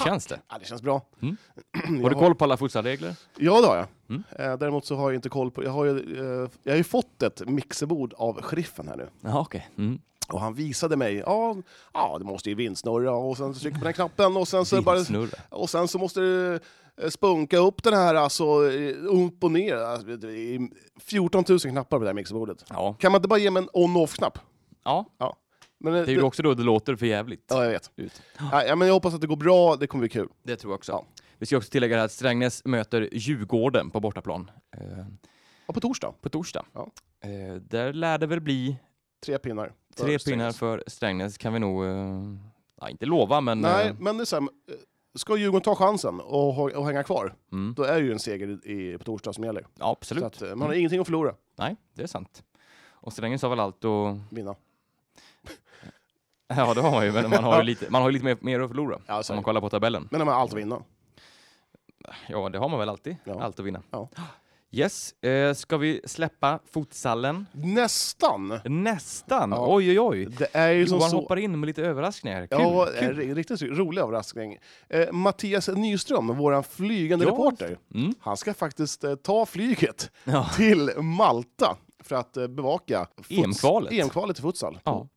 Hur känns det?
Ja, det känns bra.
Mm.
Jag
Har du koll på alla futsalregler?
Ja, det har jag.
Mm.
Eh, däremot så har jag inte koll på... Jag har ju, eh, jag har ju fått ett mixerbord av sheriffen här nu.
Ja, okej. Mm.
Och han visade mig, ja, ja det måste ju vindsnurra och sen så trycker man på den knappen och sen så är det bara...
Vindsnurra.
Och sen så måste du eh, spunka upp den här, alltså eh, upp och ner. Alltså, det är 14 000 knappar på det här mixerbordet.
Ja.
Kan man inte bara ge mig en on-off-knapp?
ja,
Men,
det är ju
det-
också då det låter för jävligt.
Ja, jag vet.
Ut.
Ja, ja, men jag hoppas att det går bra, det kommer bli kul.
Det tror jag också.
Ja.
Vi ska också tillägga här att Strängnäs möter Djurgården på bortaplan eh,
Ja, på torsdag,
på torsdag.
Ja.
Eh, där lär det väl bli
tre pinnar. för
Tre
Strängnäs.
pinnar för Strängnäs kan vi nog, eh, ja, inte lova, men
Nej,
eh,
men det är så här, eh, ska Djurgården ta chansen och, ha- och hänga kvar,
mm,
då är ju en seger i, på torsdag som gäller.
ja,
Så
absolut. Mm.
att, eh, man har ingenting att förlora,
Nej, det är sant. Och Strängnäs har väl allt och
vinna.
Ja, det har man ju, men man har ju lite, man har ju lite mer, mer att förlora
Ja, så
om
är
man
det.
kollar på tabellen.
men de har allt att vinna.
Ja, det har man väl alltid,
Ja.
allt att vinna.
Ja.
Yes, eh, ska vi släppa fotsallen?
Nästan!
Nästan!
Ja.
Oj, oj, oj!
Det är ju som
Johan
så...
hoppar in med lite överraskningar. Kul!
Ja,
kul.
en ri- riktigt rolig överraskning. Eh, Mattias Nyström, vår flygande
Ja.
reporter,
Mm.
han ska faktiskt eh, ta flyget
Ja.
till Malta för att eh, bevaka futs-
EM-kvalet.
EM-kvalet i futsal.
Ja.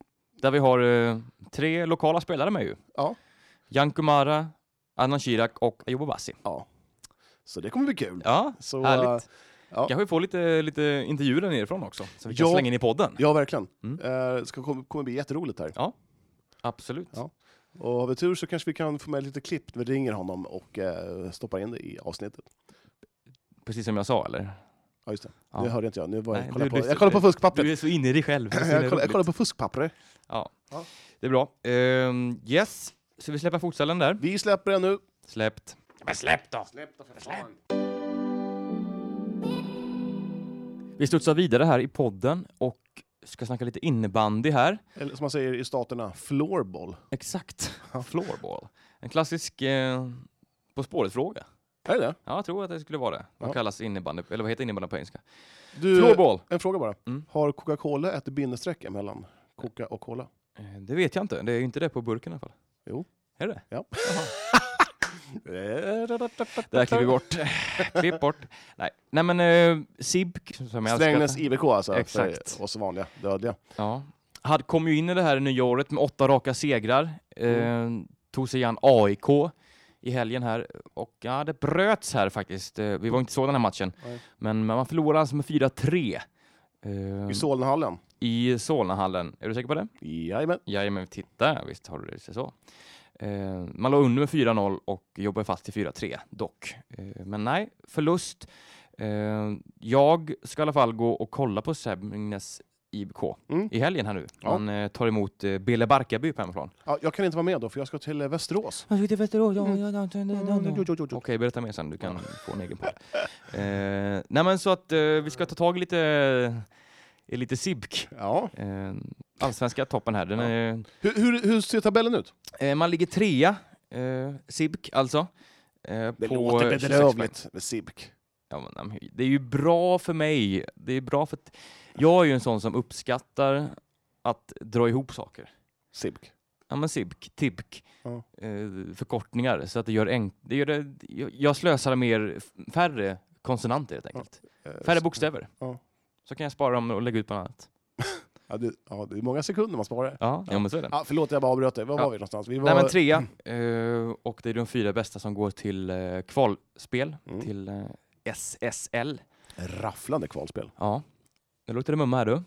Där vi har eh, tre lokala spelare med ju.
Ja.
Jan Kumara, Adnan Kirak och Ayoub Abassi.
Så det kommer bli kul.
Ja,
Så, eh,
Härligt.
ja.
Kanske vi får lite, lite intervjuer där nerifrån också, så vi kan
Ja.
slänga in i podden.
Ja, verkligen.
Mm.
Eh, Det ska, kom- kommer bli jätteroligt här.
Absolut.
Ja. Och har vi tur så kanske vi kan få med lite klipp när vi ringer honom och eh, stoppar in det i avsnittet.
Precis som jag sa, eller?
Ja, just det.
Ja.
Nu hörde inte jag. Nu var
Nej,
jag, kollade
du-
på,
du-
jag kollar på fuskpappret.
Du är så inne i dig själv. Det är så
Jag
himla
kollar, jag
roligt.
kollar på fuskpappret.
Ja.
Ja.
Det är bra. Ehm, yes, så vi släpper fotcellen där.
Vi släpper det nu.
Släppt. Men släpp då! Vi studsar vidare här i podden och ska snacka lite innebandy här.
Eller som man säger i staterna, floorball.
Exakt. Floorball. En klassisk eh, På spåret-fråga.
Är det det?
Ja, jag tror att det skulle vara det. Vad
Ja. Eh,
kallas innebandy, eller vad heter innebandy på engelska?
Du,
Floorball.
En fråga bara.
Mm.
Har Coca-Cola ett bindestreck mellan Coca och Cola?
Eh, Det vet jag inte. Det är ju inte det på burken i alla fall.
Jo.
Är det det?
Ja.
Jaha. Det här klipper vi bort. Klipp bort. Nej, Nej men eh, Sibk, som jag älskar.
Strängnäs IBK alltså,
Exakt. Mm.
för oss vanliga dödliga.
Ja. Hade kom ju in i det här nya året med åtta raka segrar. Eh, tog sig an AIK i helgen här och ja, det bröts här faktiskt. Eh, vi var inte så den här matchen,
Nej.
men, men man förlorade alltså med 4-3 eh,
I Solnahallen?
i Solnahallen. Är du säker på det?
Jajamän.
Jajamän, titta, visst har det sig så. Eh, man låg under med 4-0 och jobbade fast till 4-3 dock. Eh, men nej, förlust. Eh, jag ska i alla fall gå och kolla på Sämnäs IBK
Mm.
i helgen här nu.
Ja.
Man eh, tar emot eh, Bille Barkarby på hemmaplan.
Ja, jag kan inte vara med då, för jag ska till eh, Västerås.
Jag sitter Västerås, ja,
Mm.
ja, ja, ja, ja, ja.
Jo, jo, jo, jo.
Okej, berätta mer sen. Du kan få en egen podd. Eh, nej men så att eh, vi ska ta tag i lite, eh, i lite SIBK.
Ja.
Eh, allsvenska toppen här. Den
Ja.
är,
Hur, hur, hur ser tabellen ut?
Eh, man ligger trea, eh, SIBK alltså. Eh,
Det
på
låter
26 poäng.
bedrövligt med SIBK.
Ja, men, nej, men det är ju bra för mig. Det är bra för att jag är ju en sån som uppskattar att dra ihop saker.
SIBK.
Ja men SIBK, TIBK,
Ja.
eh, förkortningar så att det gör enk- det gör det, jag- jag slösar mer, f- färre konsonanter helt enkelt.
Eh,
Färre bokstäver.
Ja.
Så kan jag spara dem och lägga ut på något annat.
Ja, det, ja, det är många sekunder man sparar.
Ja, ja. men så är det.
Ja, förlåt, jag bara avbröt dig. Var
Ja.
var vi någonstans? Vi var...
Nej men trea,
Mm.
eh, och det är de fyra bästa som går till eh, kvalspel,
Mm.
till eh, SSL.
Rafflande kvalspel.
Ja, nu luktar det mumma här du.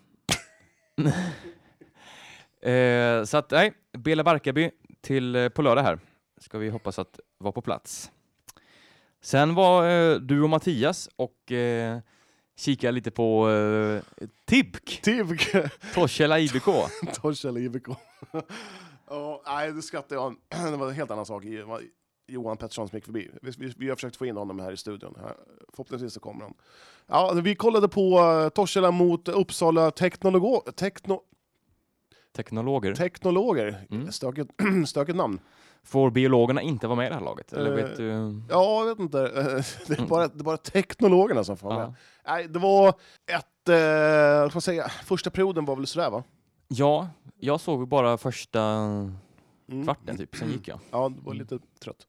eh, så att nej, Bela Barkarby till, eh, på lördag här ska vi hoppas att vara på plats. Sen var eh, du och Mattias och eh, kikade lite på eh, TIBK,
TIBK!
Torshälla IBK.
Torshälla IBK. Ja, nej, det skrattar jag Det var en helt annan sak. Det var Johan Pettersson som gick förbi. Vi, vi, vi har försökt få in honom här i studion. Här- Förhoppningsvis så kommer han. Ja, vi kollade på eh, Torshälla mot Uppsala teknologo, tekno,
Teknologer.
teknologer.
Mm.
Stökigt, stökigt namn.
Får biologerna inte vara med i det här laget? Eller
Eh,
vet du?
Ja, jag vet inte. Det är bara, det är bara teknologerna som får vara
Ja.
med. Nej, det var ett... Eh, vad ska man säga? Första perioden var väl sådär va?
Ja, jag såg ju bara första
Mm.
kvarten typ, sen gick jag.
Ja, det
Mm.
var lite trött.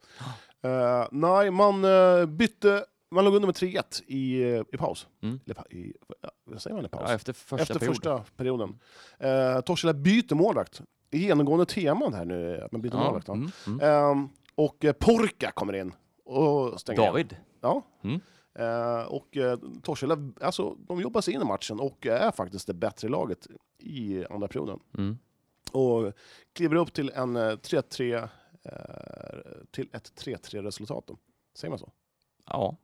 Eh, nej, man eh, bytte... Man låg under med 3-1 i, eh, i paus.
Mm.
Eller pa- i, ja, vad säger man i paus?
Ja, efter första
Efter
perioden.
första perioden. Eh, Torshälla byter målvakt. Genomgående teman här nu, är att man byter
Ja,
målvakt. va?
mm, mm.
Ehm, och eh, Porka kommer in och stänger igen.
David.
Ja.
Mm.
Eh, och eh, Torshälla, alltså, de jobbar sig in i matchen och är faktiskt det bättre laget i andra perioden.
Mm.
Och kliver upp till en eh, 3-3, eh, till ett 3-3-resultat. då. Säger man så?
Ja.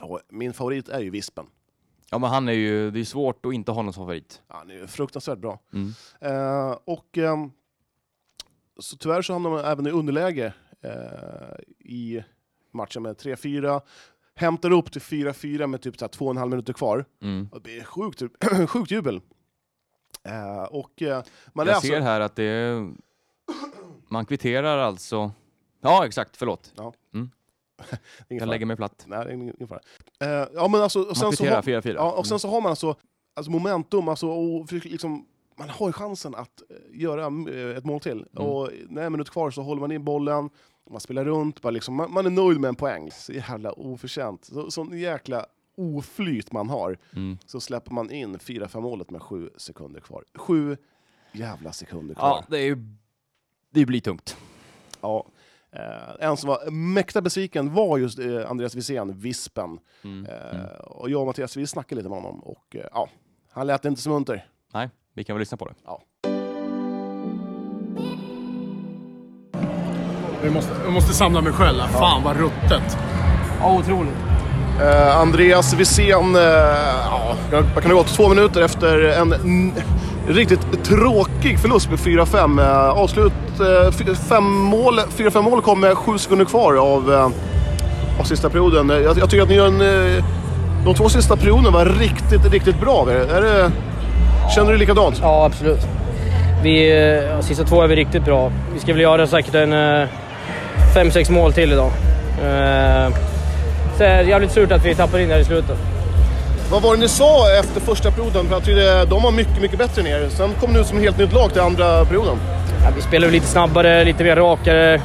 Och min favorit är ju Vispen.
ja, men han är ju, det är svårt att inte ha någon som favorit.
Han är ju fruktansvärt bra.
Mm.
Eh, och ehm, så tyvärr så hamnar man även i underläge eh, i matchen med 3-4. Hämtar upp till 4-4 med typ så här två och en halv minuter kvar.
Mm.
Och Det blir sjukt, typ, sjukt jubel. Eh, och eh, man
Jag
är
ser här att det alltså- är, man kvitterar alltså. Ja, exakt, förlåt.
Ingen
Jag
fara.
lägger mig platt.
Nej, ingen, ingen fara. Eh, ja, men alltså, och
Man
sen så
kvitterar Mm.
har,
4-4.
ja, och sen så har man alltså, alltså momentum, alltså, och försöker liksom, man har ju chansen att eh, göra eh, ett mål till.
Mm.
Och när en minut kvar så håller man in bollen, man spelar runt, bara liksom, man, man är nöjd med en poäng. Så jävla oförtjänt. Så, sån jäkla oflyt man har.
Mm.
Så släpper man in 4-5 målet med sju sekunder kvar. Sju jävla sekunder kvar.
Ja, det är ju det blir tungt.
Ja. Eh, en som var mäkta besviken var just eh, Andreas Wisén, Vispen.
Mm.
Eh,
Mm.
Och jag och Mattias, vi snackade lite med honom och eh, ja, han lät inte så munter.
Nej, vi kan väl lyssna på det.
Jag måste, jag måste samla mig själv. här. Fan vad ruttet.
Ja, otroligt.
Eh, Andreas Wisén, eh, ja, vad kan det gått? Två minuter efter en n- riktigt tråkig förlust med 4-5. Eh, avslut, eh, fy- fem mål, 4-5 mål kom med sju sekunder kvar av, eh, av sista perioden. Eh, Jag, jag tycker att ni gör en, eh, de två sista perioderna var riktigt, riktigt bra. av er. Är det, känner du likadant?
Ja, absolut. Vi, eh, ja, sista två är vi riktigt bra. Vi ska väl göra säkert en eh, 5-6 mål till idag. Eh, Så är det jävligt surt att vi tappar in här i slutet.
Vad var det ni sa efter första perioden? För jag tyckte de var mycket, mycket bättre än er. Sen kom ni ut som ett helt nytt lag till andra perioden.
Ja, vi spelade lite snabbare, lite mer rakare.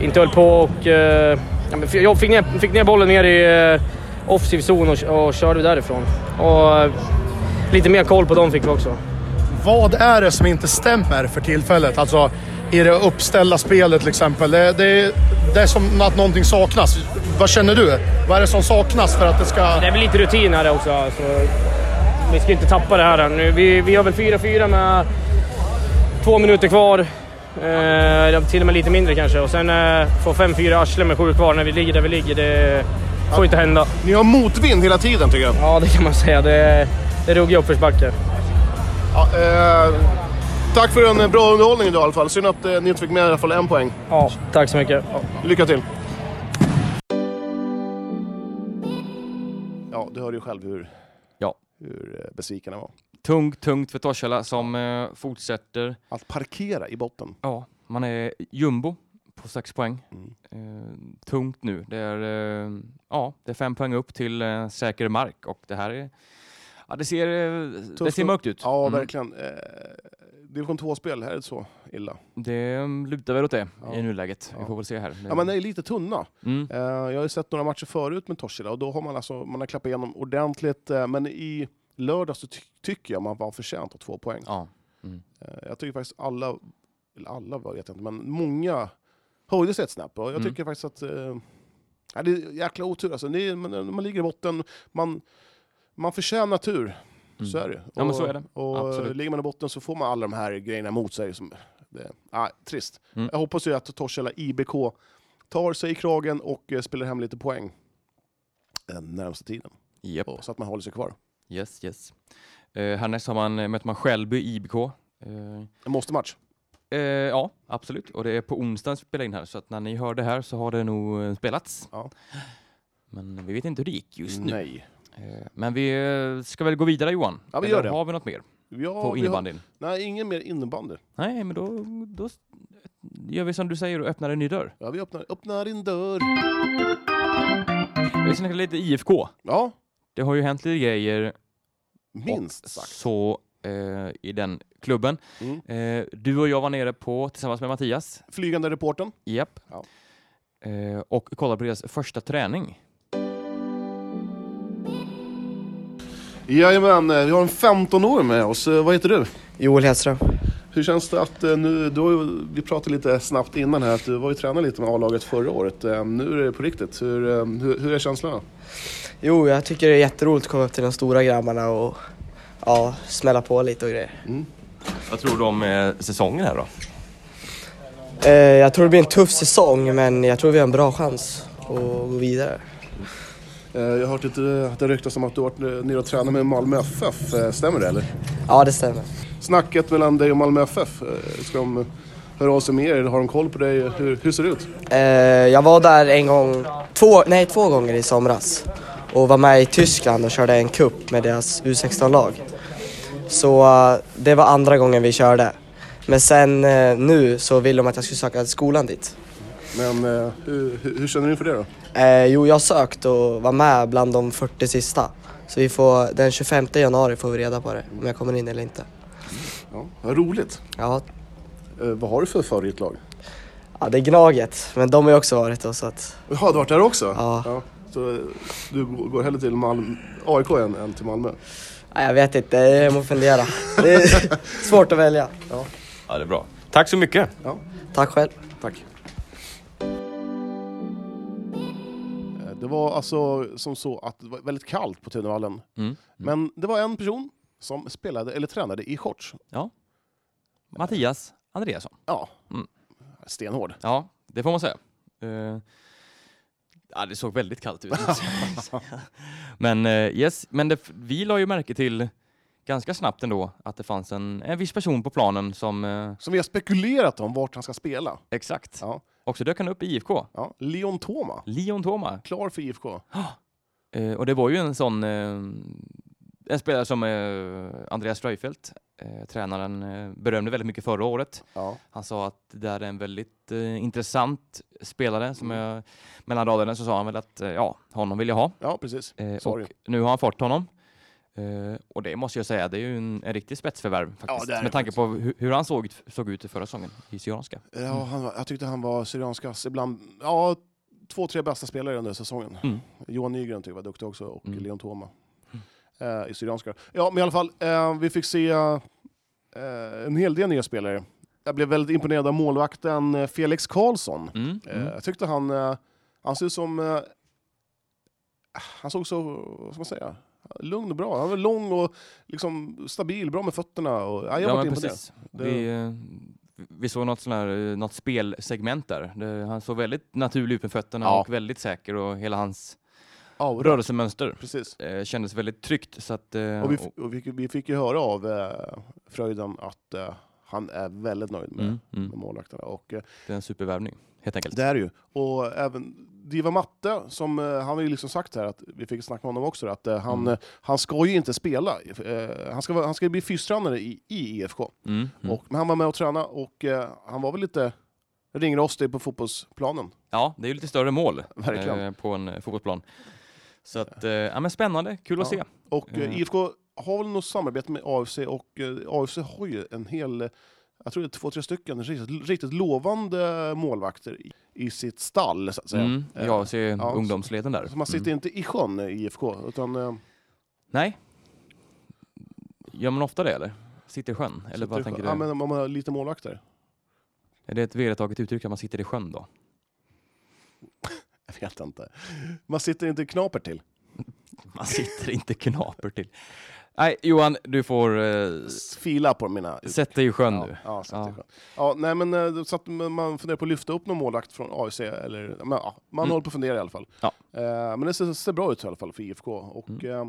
Inte höll på och... eh, Ja, men jag fick ner, fick ner bollen ner i eh, offensiv zon och, och körde därifrån. Och eh, lite mer koll på dem fick vi också.
Vad är det som inte stämmer för tillfället? Alltså i det uppställda spelet till exempel. Det, det, det är som att någonting saknas. Vad känner du? Vad är det som saknas för att det ska...
Det är väl lite rutin här också. Så vi ska inte tappa det här nu. Vi, vi har väl 4-4 med två minuter kvar. Eh, till och med lite mindre kanske. Och sen eh, få 5-4 arsle med sju kvar när vi ligger där vi ligger. Det får inte hända.
Ni har motvind hela tiden tycker jag.
Ja, det kan man säga. Det, det är ruggig uppförsbacke.
Ja, eh, tack för en bra underhållning idag i alla fall. Synd att eh, ni inte fick med i alla fall en poäng.
Ja, tack så mycket.
Lycka till! Ja, du hörde ju själv hur,
Ja.
hur eh, besviken jag var.
Tungt, tungt för Torshälla som eh, fortsätter.
Att parkera i botten.
Ja, man är jumbo på sex poäng.
Mm.
Eh, tungt nu. Det är, eh, ja, det är fem poäng upp till eh, säker mark och det här är... Ja, det ser, eh, det
Tufft
ser
och-
mörkt ut.
Ja,
Mm.
verkligen. Eh, Division 2-spel, här är det så illa.
Det eh, lutar väl åt det
Ja.
i nuläget. Vi
Ja.
får väl se här.
Ja, men det är lite tunna.
mm.
Eh, Jag har ju sett några matcher förut med Torshälla och då har man, alltså, man har klappat igenom ordentligt. eh, Men i lördags så ty- tycker jag man var förtjänt av två poäng.
ja.
Eh, Jag tycker faktiskt alla, eller alla vet jag inte, men många höjde sig ett snäpp. Och jag
Mm.
tycker faktiskt att eh, ja, det är jäkla otur. Alltså. Det är, man, man ligger i botten, man, man förtjänar tur.
Mm.
Så är det.
Ja, men så är det.
Och
Absolut.
eh, ligger man i botten så får man alla de här grejerna emot sig. Som, det, ah, trist.
Mm.
Jag hoppas ju att Torshälla IBK tar sig i kragen och eh, spelar hem lite poäng den närmaste tiden.
Japp.
Och, så att man håller sig kvar.
Yes, yes. Eh, härnäst har man, eh, möter man Skälby IBK. Eh,
En måste-match.
eh, ja, absolut. Och det är på onsdagen vi spelar in här, så att när ni hör det här så har det nog eh, spelats.
Ja.
Men vi vet inte hur det gick just nu.
Nej.
Eh, men vi eh, ska väl gå vidare Johan?
Ja, vi
Eller
gör det.
har vi något mer
Ja,
på
vi har,
innebandyn?
nej, ingen mer innebandy.
Nej, men då, då s- gör vi som du säger och öppnar en ny dörr.
Ja, vi öppnar, öppnar din dörr.
Vi snackar lite IFK.
Ja,
Det har ju hänt lite grejer
minst
och
sagt.
så eh, i den klubben.
Mm.
Eh, du och jag var nere på, tillsammans med Mattias,
Flygande reporten.
Japp.
Ja.
Eh, och kolla på deras första träning.
Jajamän, eh, vi har en 15-åring med oss. Eh, Vad heter du?
Joel Hedström.
Hur känns det att eh, nu, du har ju- vi pratade lite snabbt innan här, att du var ju tränare lite med A-laget förra året. Eh, Nu är det på riktigt. Hur, eh, hur, hur är känslan?
Jo, jag tycker det är jätteroligt att komma upp till de stora grabbarna och ja, smälla på lite och grejer.
Vad tror du om säsongen här då?
Eh, jag tror det blir en tuff säsong, men jag tror vi har en bra chans att gå vidare.
Eh, Jag har hört lite att det ryktas om att du har varit eh, nere och tränat med Malmö FF. Eh, Stämmer det eller?
Ja, det stämmer.
Snacket mellan dig och Malmö FF, eh, ska de eh, höra av sig med er? Har de koll på dig? Hur, hur ser det ut?
Eh, jag var där en gång, två, nej två gånger i somras och var med i Tyskland och körde en cup med deras U16-lag. Så eh, det var andra gången vi körde. Men sen eh, nu så vill de att jag ska söka skolan dit.
Men eh, hur, hur, hur känner du inför det då?
Eh, jo, jag har sökt och var med bland de 40 sista. Så vi får, den 25 januari får vi reda på det, om jag kommer in eller inte.
Ja, vad roligt.
Ja,
Eh, Vad har du för favoritlag?
ja det är Gnaget, men de har ju också varit då så att...
Jaha, du har varit där också?
Ja.
Så eh, du går går hellre till Malm- AIK än, än till Malmö?
Ja, jag vet inte, jag måste fundera. Det är svårt att välja.
Ja, det är bra. Tack så mycket!
Tack själv.
Tack. Det var alltså som så att det var väldigt kallt på Tunavallen.
Mm.
Men det var en person som spelade, eller tränade, i shorts.
Mattias Andreasson.
Ja.
Mm.
Stenhård.
Ja, det får man säga. Eh, ja, det såg väldigt kallt ut. men eh, yes, men det, vi la ju märke till ganska snabbt ändå att det fanns en, en viss person på planen som... eh,
Som vi har spekulerat om vart han ska spela.
exakt.
Ja.
Och så dök han upp i IFK.
Ja. Leon Toma,
Leon Toma.
klar för IFK.
Eh, och det var ju en sån... eh, en spelare som eh, Andreas Streifelt, eh, tränaren, eh, berömde väldigt mycket förra året.
Ja.
Han sa att det där är en väldigt eh, intressant spelare. Som jag, mellan raderna så sa han väl att eh, ja, honom vill jag ha.
ja, precis.
Eh, och
Sorry.
nu har han fått honom. Eh, och det måste jag säga, det är ju en, en riktig spetsförvärv faktiskt.
det är det
med tanke på hu hur han såg, ut- såg ut i förra säsongen i Syrianska.
Ja, Eh, han, var- jag tyckte han var syriansk kass. Ibland, ja, två, tre bästa spelare under säsongen.
Mm.
Johan Nygren tyckte jag var duktig också och
Mm.
Leon Thoma. Eh, I syrianska. Ja, men i alla fall, eh, vi fick se eh, en hel del nya spelare. Jag blev väldigt imponerad av målvakten eh, Felix Karlsson.
Mm.
Eh,
Mm.
Jag tyckte han, eh, han såg ut som... eh, Han såg så, vad ska man säga, lugn och bra. Han var lång och liksom stabil, bra med fötterna. Och, ja, jag
Mm. Ja,
var
men
imponerad.
precis. Vi, eh, vi såg något, sån här, eh, något spelsegment där. Det, han såg väldigt naturlig ut med fötterna
Ja.
och väldigt säker och hela hans
Ja, och-
rörelsemönster
precis.
eh, kändes väldigt tryggt. Så att, eh,
Och vi,
och-
och vi, vi fick ju höra av eh, Fröjden att eh, han är väldigt nöjd med,
mm, mm.
med målvakterna. Och, eh,
Det är en supervärvning, helt enkelt.
det är det ju. Och även Diva Matte, som, eh, han har ju liksom sagt här, att vi fick snacka med honom också, att eh, han,
Mm.
eh, han ska ju inte spela. Eh, han, ska, vara- han ska ju bli fystränare i, i IFK.
Mm, mm.
Och, men han var med och tränade och eh, han var väl lite ringrostig på fotbollsplanen.
Ja, det är ju lite större mål
Verkligen.
eh, på en eh, fotbollsplan. Så att, eh, ja, men spännande, kul att
Ja.
se.
Och eh,
Mm.
IFK har väl något samarbete med AFC och eh, AFC har ju en hel, eh, jag tror det är två, tre stycken riktigt, riktigt lovande målvakter i, i sitt stall så att säga.
Mm,
Eh,
jag ser
ja, så-
ungdomsleden där.
Så man sitter
Mm.
inte i sjön i IFK, utan eh,
Nej. Gör man ofta det eller? Sitter i sjön? Eller
sitter i
vad
sjön.
tänker
ja,
du?
men om man har lite målvakter.
Är det ett vedertaget uttryck att man sitter i sjön då?
Jag vet inte. Man sitter inte i knaper till.
Man sitter inte knaper till. Nej, Johan, du får eh,
S- Fila på mina uttryck.
sätta dig i sjön
Ja,
nu.
ja, så
Ja.
att det är skönt. ja, nej, men, eh, så att man- man funderar på att lyfta upp någon målvakt från AIC. Eller, men, ja, man
Mm.
håller på att fundera i alla fall.
Ja. Mm.
Eh, men det ser, ser bra ut i alla fall för IFK. Och eh,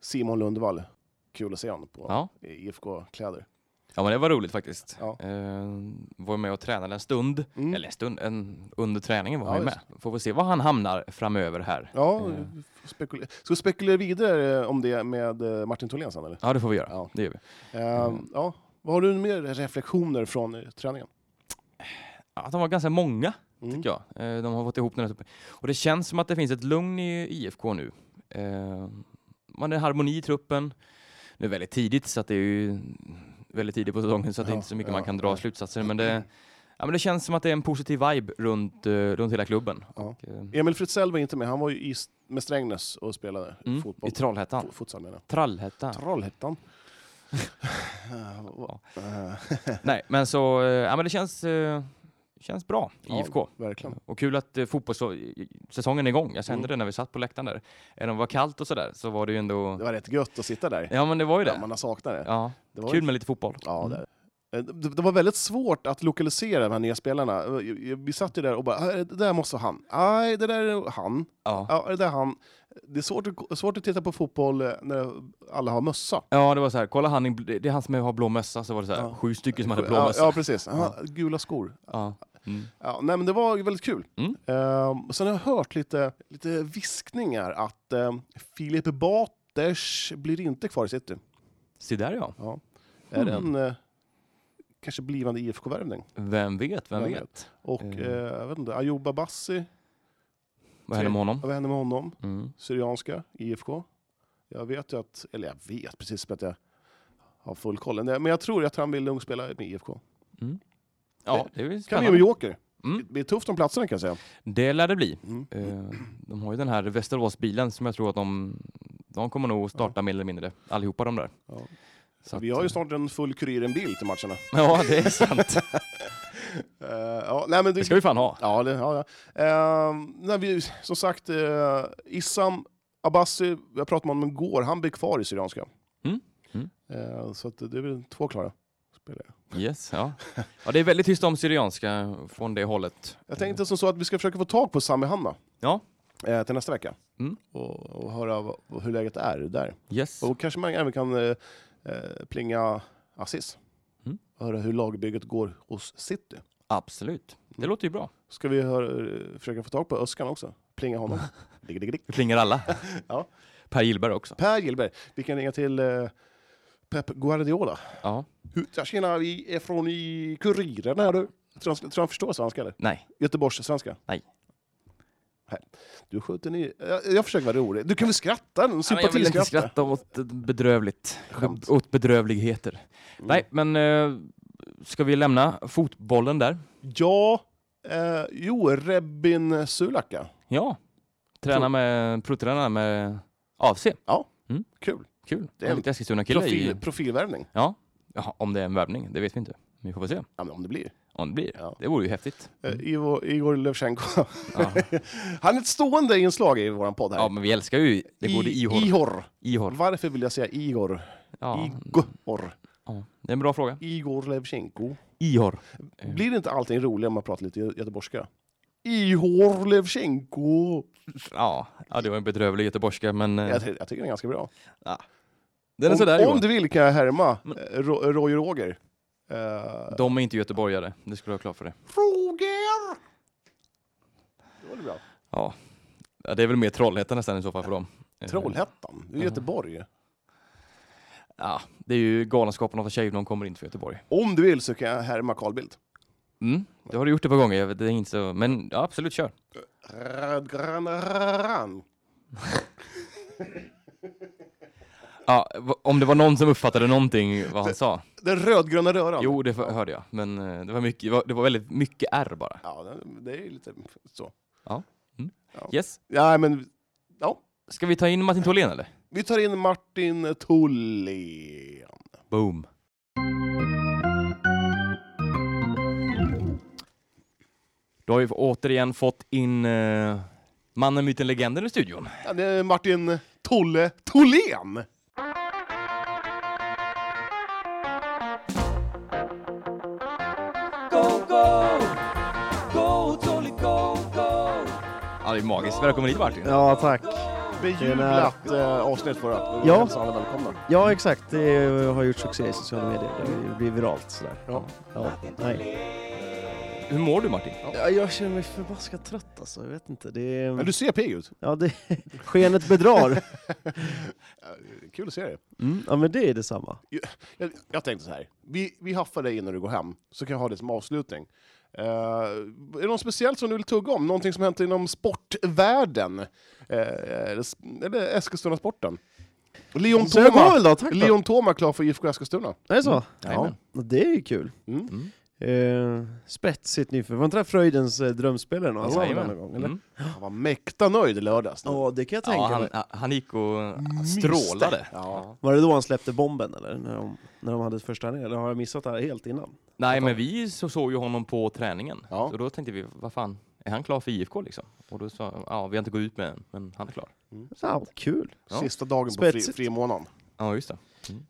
Simon Lundvall, kul att se honom på
Ja.
IFK-kläder.
ja, men det var roligt faktiskt.
Ja.
Eh, var med och tränade en stund,
Mm.
eller en stund, en, under träningen var
Ja,
han ju med. Får vi se var han hamnar framöver här.
Ja,
Eh.
vi får spekulera. Ska vi spekulera vidare eh, om det med eh, Martin Tholén sen eller?
Ja, det får vi göra.
Ja.
Det gör vi.
Eh,
Mm.
ja. Vad har du mer reflektioner från eh, träningen?
Ja, att de var ganska många,
Mm.
tycker jag. Eh, De har fått ihop den här typen. Och det känns som att det finns ett lugn i IFK nu. Eh, Man är harmoni i truppen. Nu är det väldigt tidigt, så att det är ju väldigt tidigt på säsongen, så att det är
Ja,
inte så mycket
ja,
man kan dra
nej.
slutsatser. Men det, ja, men det känns som att det är en positiv vibe runt, eh, runt hela klubben.
Ja.
Och, eh,
Emil Fritzell var inte med, han var ju i, s- med Strängnäs och spelade
mm,
fotboll.
I Trollhättan.
Fo- futsal menar jag.
Trollhättan.
Trollhättan. Eh, vad- eh,
Nej, men så, eh, ja men det känns, eh, känns bra i
ja,
IFK.
Verkligen.
Och kul att eh, fotbollssäsongen är igång. Jag kände
Mm.
det när vi satt på läktaren där. Även om det var kallt och sådär så var det ju ändå...
Det var rätt gött att sitta där.
Ja men det var ju
Ja,
det.
man har saknat det.
Ja,
det var
kul med Mm. lite fotboll.
Ja, det. Eh, Det, det var väldigt svårt att lokalisera de här nya spelarna. Eh, jag- Vi satt ju där och bara, "Ah, det där måste vara han. Nej, det där är han.
Ja.
Ja, det där är han. Det är svårt att, svårt att titta på fotboll eh, när alla har mössa.
ja, det var så här. Kolla han, i bl- det är han som har blå mössa. Så var det så här,
Ja.
sju stycken som hade blå
ja,
mössa.
ja, precis. Ja, gula skor.
Ja. Mm.
Ja, nej, men det var ju väldigt kul.
Mm.
Ehm, sen har jag hört lite, lite viskningar att um, Filip Baters blir inte kvar i city.
Se där ja.
Ja. Är det
Mm.
en eh, kanske blivande IFK-värvning?
Vem vet, vem,
Vem
vet.
Och
Mm.
eh, jag vet inte, Ayouba Bassi,
Vad hände med honom?
vad hände med honom?
Mm.
Syrianska, IFK. Jag vet ju att, eller jag vet precis som att jag har full koll. Men jag tror att han vill ungspela med IFK.
Ja, det är ju
Kan bli en
spännande.
joker.
Mm.
Det blir tufft om platserna kan jag säga.
Det lär det bli.
Mm.
Eh, De har ju den här Västeråsbilen som jag tror att de, de kommer nog starta mer eller mindre, allihopa de där.
Ja.
Så
Vi
att,
har ju
eh,
snart en full Kuriren-bil till matcherna.
Ja, det är sant.
Eh, ja, nej, men det,
Det ska vi fan ha.
Ja, det, ja, ja. Ehm, när vi, som sagt, eh, Issam Abbasi, jag pratade med honom igår, han blir kvar i Syrianska.
Mm, mm.
Eh, så att det är väl två klara spelare.
Yes, ja. ja. Det är väldigt tyst om Syrianska från det hållet.
Jag tänkte som så att vi ska försöka få tag på Sami Hanna
Ja,
eh, till nästa vecka.
Mm.
Och, och höra vad, vad- hur läget är där.
yes.
Och kanske man även kan eh, eh, plinga Assis.
Mm.
Och höra hur lagbygget går hos City.
Absolut. Det låter ju bra.
Ska vi höra, försöka få tag på Öskan också? Plinga honom. Digg, digg, digg.
Det klingar alla.
Ja.
Per Gillberg också.
Per Gillberg, vi kan ringa till eh, Pep Guardiola.
Ja.
Hur- Tjena, vi är från i Kuriren här du. Tror han- tror han förstår svenska eller?
Nej.
Göteborgssvenska?
Nej.
Nej. Du skjuter ni. Jag, jag försöker vara rolig. Du kan väl skratta? En
Ja, men jag vill inte
sympatiskratta?
skratta åt eh, bedrövligt.
Skämt.
Åt bedrövligheter. Nej, men eh, ska vi lämna fotbollen där?
Ja, eh, jo, Rebin Sulaka.
Ja. Träna
Tror-
med, provträna med AFC.
Kul.
Mm. Kul.
Det
Det är
är en
en liten Eskilstuna-kille i...
Profil, profilvärvning.
Ja. Jaha, om det är en värvning, det vet vi inte. Vi får se
Ja, men om det blir.
om det blir.
Ja.
Det vore ju häftigt.
Eh, Ivo, Igor Levchenko.
Mm. Ja.
Han är ett stående inslag i vår podd här.
ja, men vi älskar ju det gode
I-
Ihor.
Ihor.
Ihor.
Varför vill jag säga Igor?
Ja.
Igor.
ja, det är en bra fråga.
Igor Levchenko.
Ihor.
Blir det inte allting roligare om man pratar lite gö- göteborgska? Ihor Levchenko.
Ja, ja det var en bedrövlig göteborgska, men eh,
Jag, ty- jag tycker den är ganska bra.
den är
om,
sådär
om
Johan.
du vill kan jag härma eh, Ro- Roy Roger. Eh,
De är inte göteborgare, det skulle jag ha klart för dig.
Roger! Det var det bra.
Ja. ja, det är väl mer Trollhättan nästan i så fall för dem. Eh,
Trollhättan, det är Göteborg.
Ja, det är ju Galenskaparna för tjejer, de kommer inte från Göteborg.
Om du vill så kan jag härma Carl Bildt.
Mm, det har du gjort ett par gånger, jag vet, det är inte så, men ja, absolut kör.
Radgranran.
Ja, v- om det var någon som uppfattade någonting vad han sa.
Den rödgröna röran.
Jo, det f- hörde jag, men eh, det var, mycket, det var- det var väldigt mycket R bara.
Ja, det- det är lite så.
Yes.
Ja, men ja.
Ska vi ta in Martin Tholén eller?
Vi tar in Martin Tholén.
Boom. Då har vi återigen fått in eh, mannen, myten, legenden i studion.
Ja, det är Martin Tolle Tholén.
Ja, det är magiskt. Välkommen hit Martin.
Ja, tack.
Bejublat eh, avsnitt förra. Vi
Ja.
hälsar alla välkomna.
Ja, exakt. Det har gjort succé i sociala medier. Det blir viralt sådär.
Ja.
Ja, nej.
Hur mår du Martin?
Ja, jag känner mig förbaskat trött alltså. Jag vet inte. Det
Men
är...
du ser pigg ut.
Ja, det... Skenet bedrar.
Kul att se dig.
Ja, men det är detsamma.
Jag, jag tänkte så här. Vi, vi haffar dig innan du går hem, så kan jag ha det som avslutning. Eh, är det något speciellt som du vill tugga om? Någonting som hänt inom sportvärlden? Uh, eller s- eller Eskilstuna-sporten? Leon
Så jag går
Toma,
väl då. Tack då.
Leon Toma klar för IFK Eskilstuna.
Är det så?
Jajamän.
Ja, det är ju kul.
Mm.
Mm.
Eh, spetsigt nyförvärv. Var inte det här Fröjdens eh, drömspelare någon,
Ja,
ja,
jajamän.
någon gång? Eller?
Mm.
Han var mäkta nöjd i lördags.
Ja, det kan jag tänka
Ja,
mig.
han, han gick och strålade.
Ja.
Var det då han släppte bomben eller? När de, när de hade ett första ner? Eller har jag missat det här helt innan?
Nej, men vi så såg ju honom på träningen.
Ja.
Så då tänkte vi, vad fan, är han klar för IFK liksom? Och då sa ja, vi har inte gått ut med än, men han är klar.
Ja, kul.
Ja.
Sista dagen på fri,
Spetsigt.
frimånaden.
Ja, just det.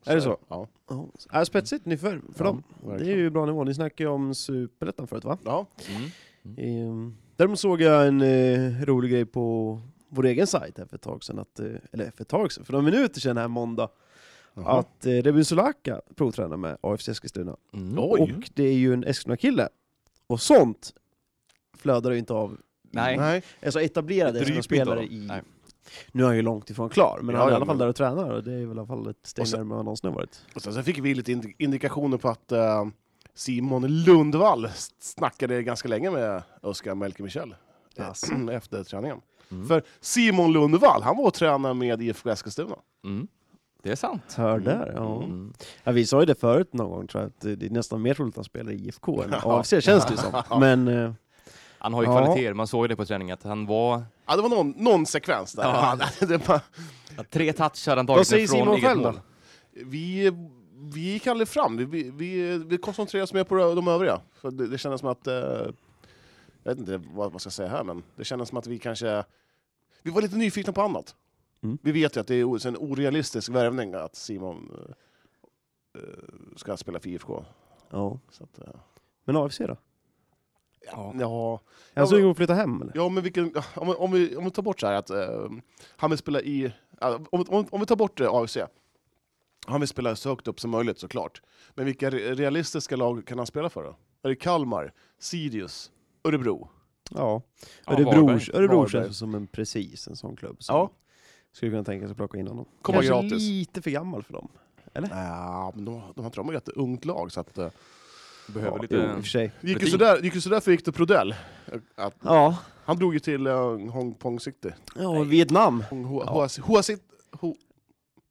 Är det så?
Ja.
Ja, äh, spetsigt nyförvärv för
Ja,
dem. Det är
verkligen.
ju bra nivå. Ni snackade ju om Superettan förut va?
Ja.
Mm.
Ehm, däremot såg jag en eh, rolig grej på vår egen sajt här för ett tag sedan, att, eh, eller för ett tag sedan, för några minuter sedan här måndag,
Jaha.
att eh, Rebin Solaka provtränar med AFC Eskilstuna.
Mm.
Oj.
Och det är ju en Eskilstuna-kille. Och sånt flödar ju inte av
Nej.
Nej.
alltså
Det
etablerade
dryper
Eskilstuna-spelare
inte av dem.
i...
Nej.
Nu är han ju långt ifrån klar, men
Ja,
han är i
ja,
alla fall
men-
där och tränar och det är väl i alla fall ett steg
Och sen-
närmare än han någonsin har varit.
Och sen, sen fick vi lite indi- indikationer på att eh, Simon Lundvall s- snackade ganska länge med Oskar Melker Michel eh,
Jaså.
efter träningen. För Simon Lundvall, han var och tränade med IFK Eskilstuna.
Mm. Det är sant.
Mm.
Mm.
Hör där, ja. ja. Vi sa ju det förut någon gång tror jag, att det det är nästan mer troligt att han spelar i IFK än AFC känns det ju som. Men eh,
Han har ju
Ja.
kvaliteter, man såg ju det på träningen, att han var...
Ja, det var någon, någon sekvens där.
Ja.
Ja, det var,
att Tre touch hade han
vad
tagit
säger
sig från
Simon
eget
själv då?
mål.
vi, vi gick aldrig fram, vi, vi- vi, vi koncentrerade oss mer på de övriga. För det, det kändes som att, eh, jag vet inte vad man ska jag säga här, men det kändes som att vi kanske, vi var lite nyfikna på annat.
Mm.
Vi vet ju att det är o- en orealistisk värvning att Simon eh, eh, ska spela för IFK.
Ja.
Så att, eh,
Men AFC då?
Ja.
ja.
Är han sugen på att flytta hem eller?
Ja, men vilken, om, om, vi, om vi tar bort så här att eh, han vill spela i... ja, om, om, om vi tar bort eh, AFC. Han vill spela så högt upp som möjligt såklart. Men vilka re- realistiska lag kan han spela för då? Är det Kalmar, Sirius, Örebro?
Ja.
Ja,
Örebro,
Varberg.
Örebro
Varberg.
känns som en, precis en sån klubb som,
Ja.
Skulle kunna tänka sig att plocka in honom.
Komma
Kanske
gratis.
lite för gammal för dem.
Ja, men de, de har inte de ett ungt lag så att... eh,
Behöver
ja,
lite...
jo, i och för sig.
Det gick ju
Rutin.
sådär, det gick ju sådär för Victor Prodell. Eh, Att,
Ja,
han drog ju till eh, Hong Kong City.
ja Vietnam.
Hong, Ho- Hoa, Hoa City. Ho,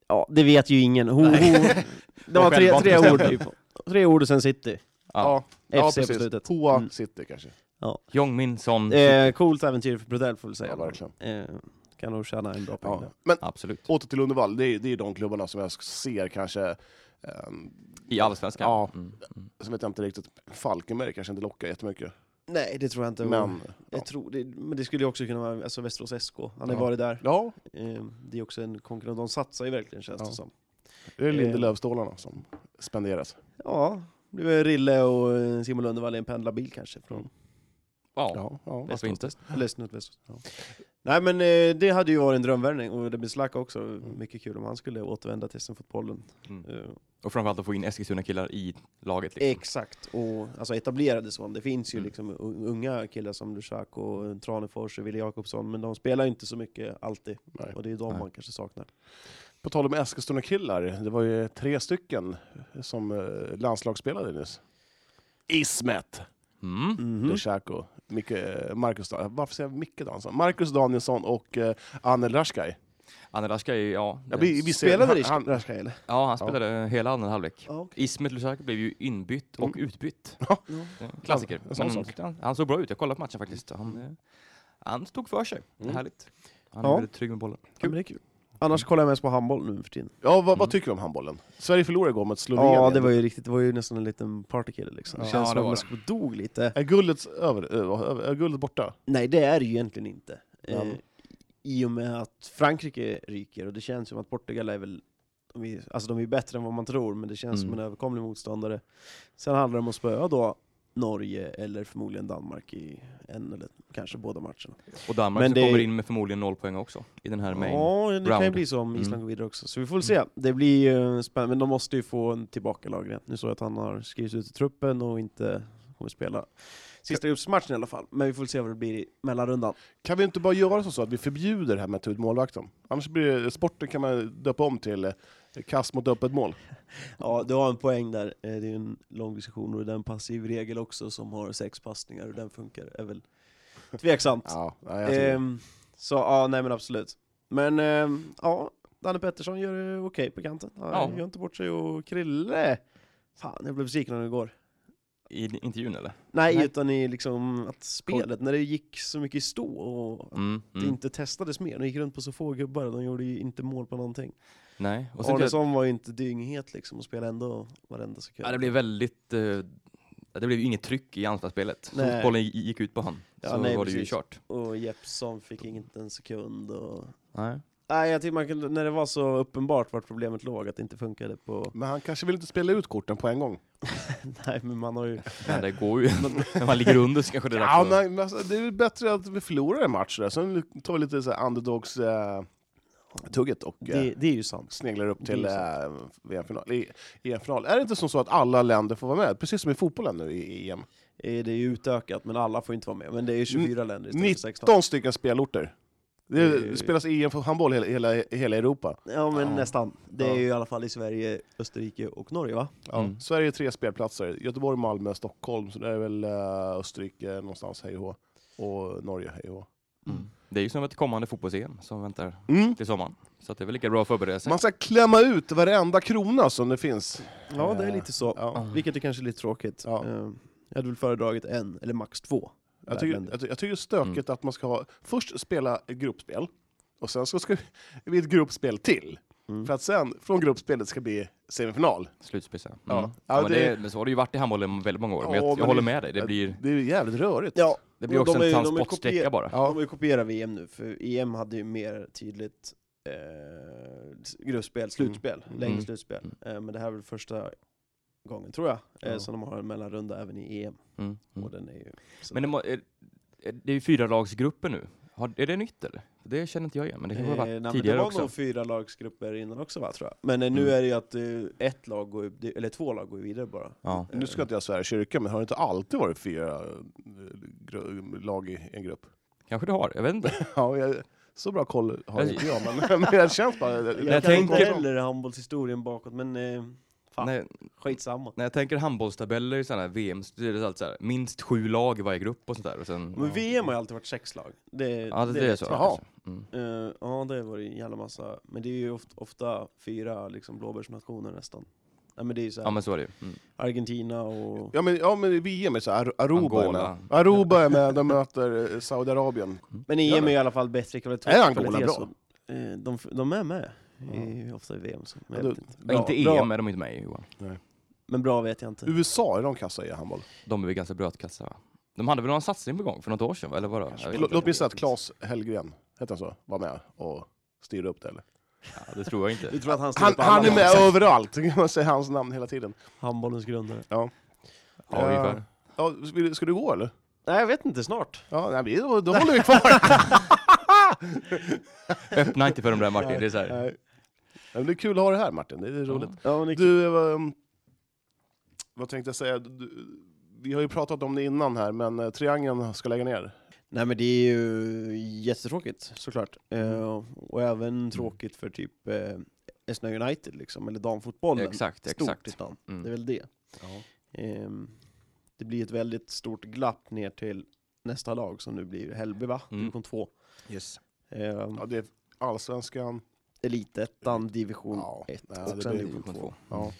Ja, det vet ju ingen. Ho, ho. Det var tre,
Självvalt
tre ord
bestämt.
typ. Tre ord och sen city.
Ja.
ja, ja,
FC på
precis.
slutet.
Hoa
Mm.
City kanske.
Jongmin Son.
Eh, coolt äventyr för Prodell får vi säga.
Ja, verkligen.
eh, kan nog tjäna en bra peng
Ja.
där.
Men
Absolut.
åter till Lundevall, det är, det är de klubbarna som jag ser kanske... eh,
I Allsvenskan.
Ja.
Mm. Mm.
Sen vet jag inte riktigt, Falkenberg kanske inte lockar jättemycket.
Nej, det tror jag inte.
Men, ja.
Jag tror det, men det skulle ju också kunna vara alltså Västerås SK. Han har
Ja.
varit där.
ja,
Eh, det är också en konkurrent. De satsar ju verkligen känns
Ja.
det som.
det är
Eh.
Lindelöf-stålarna som spenderas.
Ja, det är Rille och eh, Simon Lundevall i en pendlarbil kanske. Från
Ja,
Ja, ja.
varför inte?
Eller Snutväst. Ja. Nej men eh, det hade ju varit en drömvärvning och det blir Slacka också. Mycket kul om han skulle återvända till sin fotbollen.
Mm.
Eh,
Och framförallt att få in Eskilstuna-killar i laget. Liksom.
Exakt, och alltså etablerade sån. Det finns ju
Mm.
liksom u- unga killar som Lushak och Tranefors och Wille Jakobsson, men de spelar ju inte så mycket alltid.
Nej.
Och det är ju de
Nej.
man kanske saknar.
På tal om Eskilstuna-killar, det var ju tre stycken som eh, landslagsspelade nyss. Ismet,
Mm.
Mhm.
Lushako, Micke, eh, Marcus, Dan- varför säger jag Micke Danielsson? Marcus Danielsson och eh, Anel Rashkai.
Anne Raska är ju, ja...
Ja,
det-
vi- vi ser-
Spelade
han-
Rish-
han-
Rashkai eller?
ja, han spelade hela andra halvlek.
Ja, okej.
Ismet Lusak blev ju inbytt och utbytt.
Ja.
Det är en Klassiker.
En sån
Men
sak.
han, han såg bra ut, jag kollade på matchen faktiskt. Han, eh, han stod för sig, Det är
Mm.
härligt. Han
Ja.
är väldigt trygg med bollen.
Ja, men det är kul. Annars kollar jag mest på handboll nu för tiden.
Ja, vad, vad tycker vi om handbollen? Sverige förlorade igår mot Slovenien.
Ja, det var ju riktigt. Det var ju nästan en liten partykille liksom. Det
Ja,
känns
det
som att
var
man
det.
skulle dog lite.
Är guldet, över, ö- ö- är guldet borta?
Nej, det är det ju egentligen inte. Eh,
Men-
I och med att Frankrike ryker, och det känns som att Portugal är väl de är, alltså de är bättre än vad man tror, men det känns som
Mm.
en överkomlig motståndare. Sen handlar det om att spöa då Norge eller förmodligen Danmark i en eller kanske båda matcherna.
Och Danmark
Men
så
det-
kommer in med förmodligen noll poäng också i den här main.
ja, det kan ju
round.
bli så om Island
Mm.
går vidare också. Så vi får väl se. Det blir ju spännande, men de måste ju få en tillbaka lagret. Nu såg jag att han har skrivits ut i truppen och inte kommer spela sista gruppsmatchen i alla fall. Men vi får väl se vad det blir i mellanrundan.
Kan vi inte bara göra som så att vi förbjuder det här med att ta ut målvakten? Annars blir det, sporten kan man döpa om till eh, kast mot öppet mål.
Ja, du har en poäng där. Eh, Det är en lång diskussion och det är en passiv regel också som har sex passningar och den funkar är väl tveksamt.
Ja, nej, jag tycker-
Ehm, så ja, nej men absolut. Men ehm, ja, Danne Pettersson gör det okej på kanten. Han
Ja.
gör inte bort sig och Krille, fan jag blev besviken när det går.
I intervjun eller?
Nej,
Nej.
utan i liksom att spelet, när det gick så mycket i stå och att
Mm,
det
mm.
inte testades mer. De gick runt på så få gubbar och de gjorde ju inte mål på någonting.
Nej. Och sen
Arnesson var ju inte dynghet liksom och spelade ändå varenda sekund.
ja, det blev väldigt... Eh, det blev ju inget tryck i anfallsspelet. Så
Nej.
bollen gi- gick ut på han.
Ja,
så
nej,
var det ju
precis.
kört.
Och Jeppsson fick inte en sekund och...
Nej.
Nej jag tycker man kunde, när det var så uppenbart vart problemet låg, att det inte funkade på...
Men han kanske vill inte spela ut korten på en gång.
Nej men man har ju...
Men det går ju. När man ligger under så kanske det är
Ja,
dags att-
men, men alltså, det är väl bättre att vi förlorar en match där, sen tar vi lite så här underdogs-tugget och eh,
Det, det är ju sant.
sneglar upp
det
till
är
eh, VM-final. I- EM-final. Är det inte som så att alla länder får vara med? Precis som i fotbollen nu i E EM.
Eh, Det är ju utökat, men alla får inte vara med. Men det är ju 24 länder istället för 16.
19 stycken spelorter. Det
Det är-
spelas E EM för handboll i hela, hela, hela Europa.
Ja men nästan. Det
Ja.
är ju i alla fall i Sverige, Österrike och Norge va?
Ja.
Mm.
Sverige tre spelplatser. Göteborg, Malmö, Stockholm. Så det är väl eh, Österrike någonstans, hej och hå. Och Norge, hej och hå.
Mm. Det är ju som ett kommande fotbolls-EM som väntar
Mm.
till sommaren. Så att det är väl lika bra att förbereda sig.
Man ska klämma ut varenda krona som det finns.
Ja det är lite så.
Ja.
Vilket är kanske lite tråkigt.
Ja.
Eh, Jag hade väl föredragit en, eller max två.
Jag tycker,
Värmländer.
jag, ty- jag tycker det är stökigt
Mm.
att man ska ha, först spela ett gruppspel, och sen så ska vi ett gruppspel till. För att sen, från gruppspelet ska bli semifinal.
Slutspel sen. Mm.
Ja.
Ja.
Ja,
men
det-
det... men så har det ju varit i handbollen väldigt många år. men jag,
Ja,
jag
men
håller
det-
med dig. Det blir,
Det är ju jävligt rörigt.
Ja,
det blir
och
också
de är
en
ju- de är
transportsträcka
kopier-
bara.
Ja. De har ju kopierat VM nu, för EM hade ju mer tydligt eh, s- gruppspel, slutspel, längre
Mm.
slutspel.
Mm.
Eh, men det här är väl första gången, tror jag, eh,
Ja.
som de har en mellanrunda även i EM.
Mm. Mm.
Och den är ju så-
Men det, må, är, är- det är ju fyra lagsgrupper nu. Har, är det nytt eller? Det känner inte jag igen, men det kanske har
Eh, nej,
varit
men
tidigare
det var
också.
nog fyra lagsgrupper innan också va, tror jag. Men eh, nu
Mm.
är det ju att eh, ett lag går, det- eller två lag går vidare bara.
Ja.
Nu ska inte jag svära i kyrkan, men har det inte alltid varit fyra eh, gru- lag i en grupp?
Kanske det har, jag vet inte.
Ja, jag, Så bra koll har
Jag-
inte jag, men, men jag känns bara... Jag,
jag
kan
tänker-
inte heller handbollshistorien bakåt, men eh, fan,
När,
skitsamma.
när jag tänker handbollstabeller i sådana här VM, så är det alltid så här, minst sju lag i varje grupp och sånt där. Och sen,
Men VM har ju alltid varit sex lag. Det,
ja, det, det, är så.
rätt.
Jaha.
Mm.
Eh, ja, det var det en jävla massa. Men det är ju ofta, ofta fyra liksom, blåbärsnationer nästan. Nej, men det är ju så här,
Ja, men så är det ju. Mm.
Argentina och...
Ja men, ja, men i VM är så här, Ar- Aruba är
Angola.
med. Aruba är med, de möter eh, Saudiarabien.
Men
Ja,
EM är
men-
i alla fall bättre kvalitet.
Är Angola
kvalitet,
bra?
så, eh, de, f- de är med, i, ofta i VM. Så, men,
Ja,
jag
du-
vet inte.
Ja, inte
bra,
EM är de inte med i Johan.
men bra vet jag inte.
USA, är de kassa i handboll?
De är väl ganska brötkassa va? De hade väl någon satsning på gång för något år sedan va? eller vadå? Jag vet
Lå-
inte.
Låt mig säga att Claes Hellgren, heter han så, var med och styrde upp det eller?
Ja, det tror jag inte.
Du tror att han, står
Han,
på alla
han är
lag?
med överallt, kan man säga hans namn hela tiden.
Handbollens grundare.
Ja, ungefär.
Ja, vill- ska du gå eller?
Nej, jag vet inte. Snart.
Ja, nej, vi- då, då håller vi kvar!
Öppna inte för de där Martin, det är så här.
Nej. Ja, men Det är kul att ha det här Martin, det är roligt.
Ja, men det-
Du, ehm, vad tänkte jag säga? Du, vi har ju pratat om det innan här, men eh, Triangeln ska lägga ner.
Nej men det är ju jättetråkigt såklart. Eh, och även tråkigt för typ eh, Esna United liksom, eller damfotbollen.
Exakt,
Stort i
exakt.
stan.
Mm.
Det är väl det. Ehm, det blir ett väldigt stort glapp ner till nästa lag som nu blir Hällby va?
Mm.
Division 2.
Yes.
Ehm,
Ja, det är Allsvenskan.
Elitettan, division
Ja,
1
nej,
och
det
sen
blir
division 2.
Ja.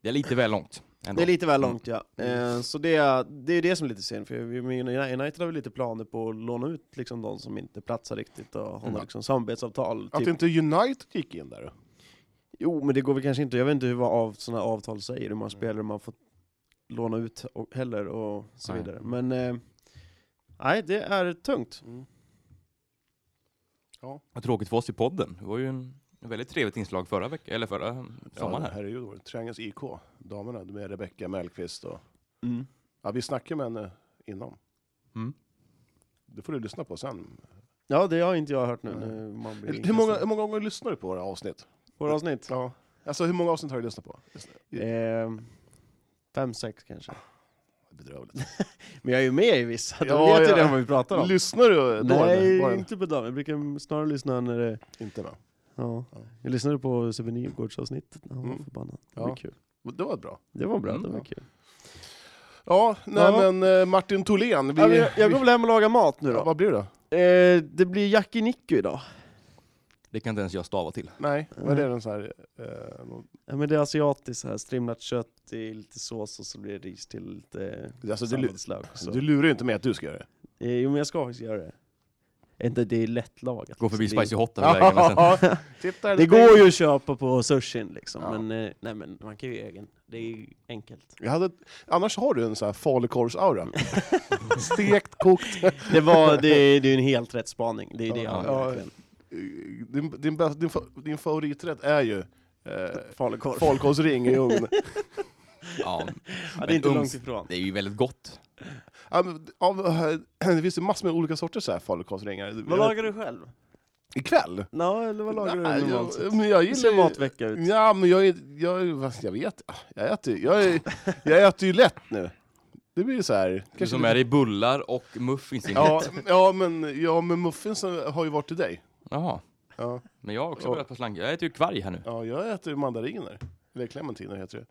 Det är lite väl långt. Ändå.
Det är lite väl långt ja.
Mm.
Eh, så det, är- det är det som är lite synd, för vi- men United har väl lite planer på att låna ut liksom, de som inte platsar riktigt och hålla
Mm.
liksom, samarbetsavtal.
Att
typ.
inte United gick in där.
Jo, men det går väl kanske inte. Jag vet inte hur vad av, sådana avtal säger, hur många spelare man får låna ut och, heller och så
Nej.
vidare. Men eh, nej, det är tungt.
Vad Tråkigt för oss i podden. Det var ju en ett väldigt trevligt inslag förra veckan, eller förra sommaren
Ja,
här.
herregud, då var det Triangelns IK, damerna med Rebecka Mellqvist och...
Mm.
Ja, vi snackade med henne innan.
Mm.
Det får du lyssna på sen.
Ja, det har inte jag hört nu.
Nej.
nu man blir
Hur många, hur
inkastad.
många gånger lyssnar du på våra avsnitt?
Våra avsnitt?
Ja. Alltså hur många avsnitt har du lyssnat på?
Eh, fem, sex kanske.
Bedrövligt.
Men jag är ju med i vissa, då
Ja,
vet jag
ja.
redan vad vi pratar om.
Lyssnar du då?
Nej,
eller? Bara-
inte på dem. Jag brukar snarare lyssna när det...
inte va?
Ja. Jag lyssnade på Sebbe Nygårds-avsnittet när han var
Mm.
förbannad. Det
Ja.
var kul.
Det var bra.
Det var bra,
Mm,
det var
ja.
kul.
Ja, nej
Ja.
men eh, Martin Tholén. Vi,
Ja, men jag, jag
vi-
går väl hem och lagar mat nu då.
ja, vad blir det då?
Eh, det blir Jackie Nicku idag.
Det kan inte ens jag stava till.
Nej, vad är det? En sån här, eh, någon-
Ja, men det är asiatiskt så här, strimlat kött i lite sås och så blir det ris till lite
alltså, du, lu-
salladslök. och så.
du lurar ju inte med att du ska göra det.
Eh, jo men jag ska faktiskt göra det. Inte, det är lättlagat.
Gå förbi
Så det,
Spicy Hot där på vägen och sen-
Titta,
det går ju att köpa på sushin liksom,
Ja.
men, eh, nej, men man kan ju göra egen. Det är ju enkelt.
Jag hade, annars har du en sån här falukorvsaura. Stekt, kokt.
Det, var, det, det är ju en helt rätt spaning. Det är det jag
Ja,
har
ja.
verkligen.
Din, din, bäst- din, fa- din favoriträtt är ju eh,
Falukorv.
falukorvsring i ugn.
Ja,
Ja, det är inte
Men
långt
ugns-
ifrån.
det är ju väldigt gott.
Ja, men av, eh, det finns ju massor med olika sorters så här falukorvsringar.
Vad
Jag-
lagar du själv?
Ikväll?
Ja, eller vad lagar
Nej,
du normalt
jag,
sett?
men jag
Hur
gillar
ser
ju-
matvecka ut?
Ja, men jag, är- jag, är- vad- jag vet ah, jag äter, ju- jag, är- jag äter ju lätt nu. Det blir ju så här.
Du som
lite-
är i bullar och muffins. Ja.
ja, ja, men, ja, men muffinsen har ju varit till dig.
Jaha.
Ja,
Men jag har också
Och-
börjat på slang. Jag äter ju kvarg här nu.
ja jag äter ju mandariner. Eller clementiner heter det.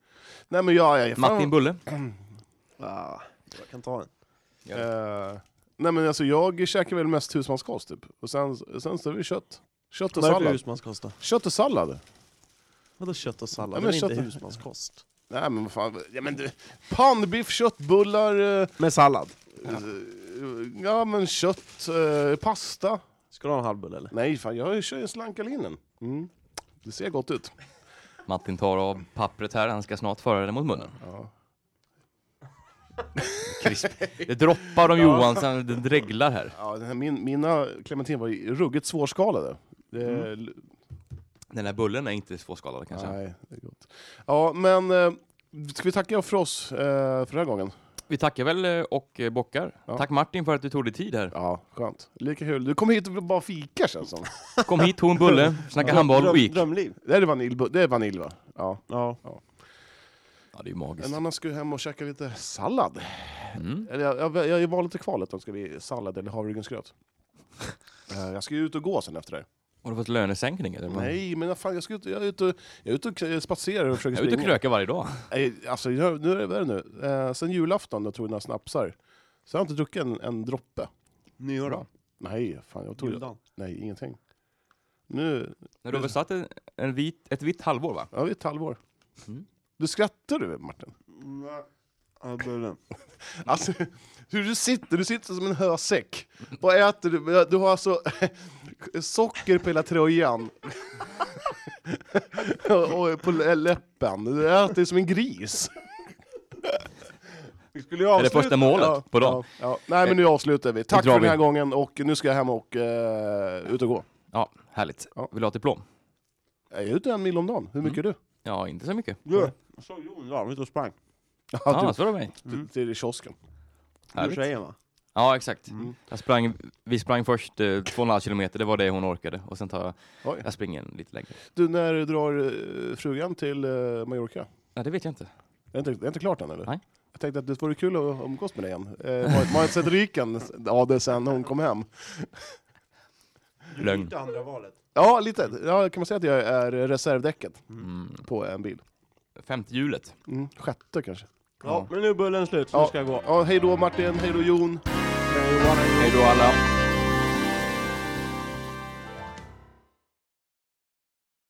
Nej, men jag... jag, jag fan-
Martin Bulle.
Ah, jag kan ta en.
Eh, nej, men alltså jag käkar väl mest husmanskost typ. Och sen, sen så är det kött. Kött och
Vad är det för
sallad.
husmanskost då?
Kött och sallad.
Vadå kött och
Ja,
sallad?
men
det är väl inte
kött-
husmanskost?
Nej men vad fan, ja, men du, pannbiff, köttbullar, eh,
Med sallad?
ja men kött, eh, pasta.
Ska du ha en halvbulle eller?
Nej fan, jag kör ju slankalinen. Mm. Det ser gott ut.
Martin tar av pappret här, han ska snart föra det mot munnen.
Ja.
Krisp. Det droppar om Johansson, det dreglar här.
Ja, den här, min, mina clementin var ju ruggigt svårskalade. Det,
Den här bullen är inte svårskalad kanske.
Nej, det är gott. Ja men, eh, ska vi tacka för oss eh, för den här gången?
Vi tackar väl eh, och eh, bockar.
Ja.
Tack Martin för att du tog dig tid här.
Ja, skönt. Lika kul. Du kom hit och bara fika känns som.
Kom hit, tog en bulle, snackade handboll och gick.
Drömliv?
Det är vanilj, det är vanilj va? Ja.
Ja.
Ja, det är ju
En
magiskt.
annan ska ju hem och käka lite sallad.
Mm.
Eller jag, jag, jag är valet i kvalet om ska bli sallad eller havregrynsgröt. Eh, Jag ska ju ut och gå sen efter det här.
Har du fått lönesänkning eller? vad?
Nej, men vad fan, jag, ska ut, jag, är ute, och- jag är ute och k- spatserar och försöker
Jag är ute och
springa.
krökar varje dag.
Nej, alltså, jag, nu är det värre nu. Eh, sen julafton, jag tog några snapsar, så jag har inte druckit en, en droppe.
Nyår då?
Nej, fan, jag tog
Juldagen?
Nej, ingenting. Nu,
När du har besatt en, en vit, ett vitt halvår va?
ja, det är ett halvår.
Mm.
Du skrattar du, Martin?
Ja, det är det.
Alltså, hur du sitter, du sitter som en hösäck. Vad äter du? Du har alltså socker på hela tröjan. och på läppen. Du äter som en gris.
Vi skulle
Är
ju
det
avsluta.
första målet på dagen?
Ja, ja. Nej, men nu avslutar vi. Tack
drar
för den
vi.
här gången och nu ska jag hem och eh, ut och gå.
Ja, härligt.
Ja.
Vill du ha ett diplom?
Jag är ute en mil om dagen. Hur
Mm.
mycket är du?
Ja, inte så mycket.
Du, jag såg Jon idag, han var ute och sprang.
Ja, ah, så var det mig.
du, till kiosken.
Med tjejen va?
Ja, exakt. Jag sprang, vi sprang först eh, två och en halv kilometer, det var det hon orkade. Och sen tar jag,
Oj.
jag springer en lite längre.
Du, när drar eh, frugan till eh, Mallorca?
Ja, det vet jag inte.
Det är inte, det är inte klart än eller?
Nej.
Jag tänkte att det vore kul att umgås med dig igen. Eh, man man har inte sett ryken av det sen hon kom hem.
Lögn.
andra valet.
Ja, lite. Ja, kan man säga att jag är reservdäcket
Mm.
på en bil?
Femte hjulet.
Mm, sjätte kanske.
Ja, men nu är bullen slut så
Ja.
nu ska jag gå.
Ja, hej då Martin, hej då Jon.
Hej då alla.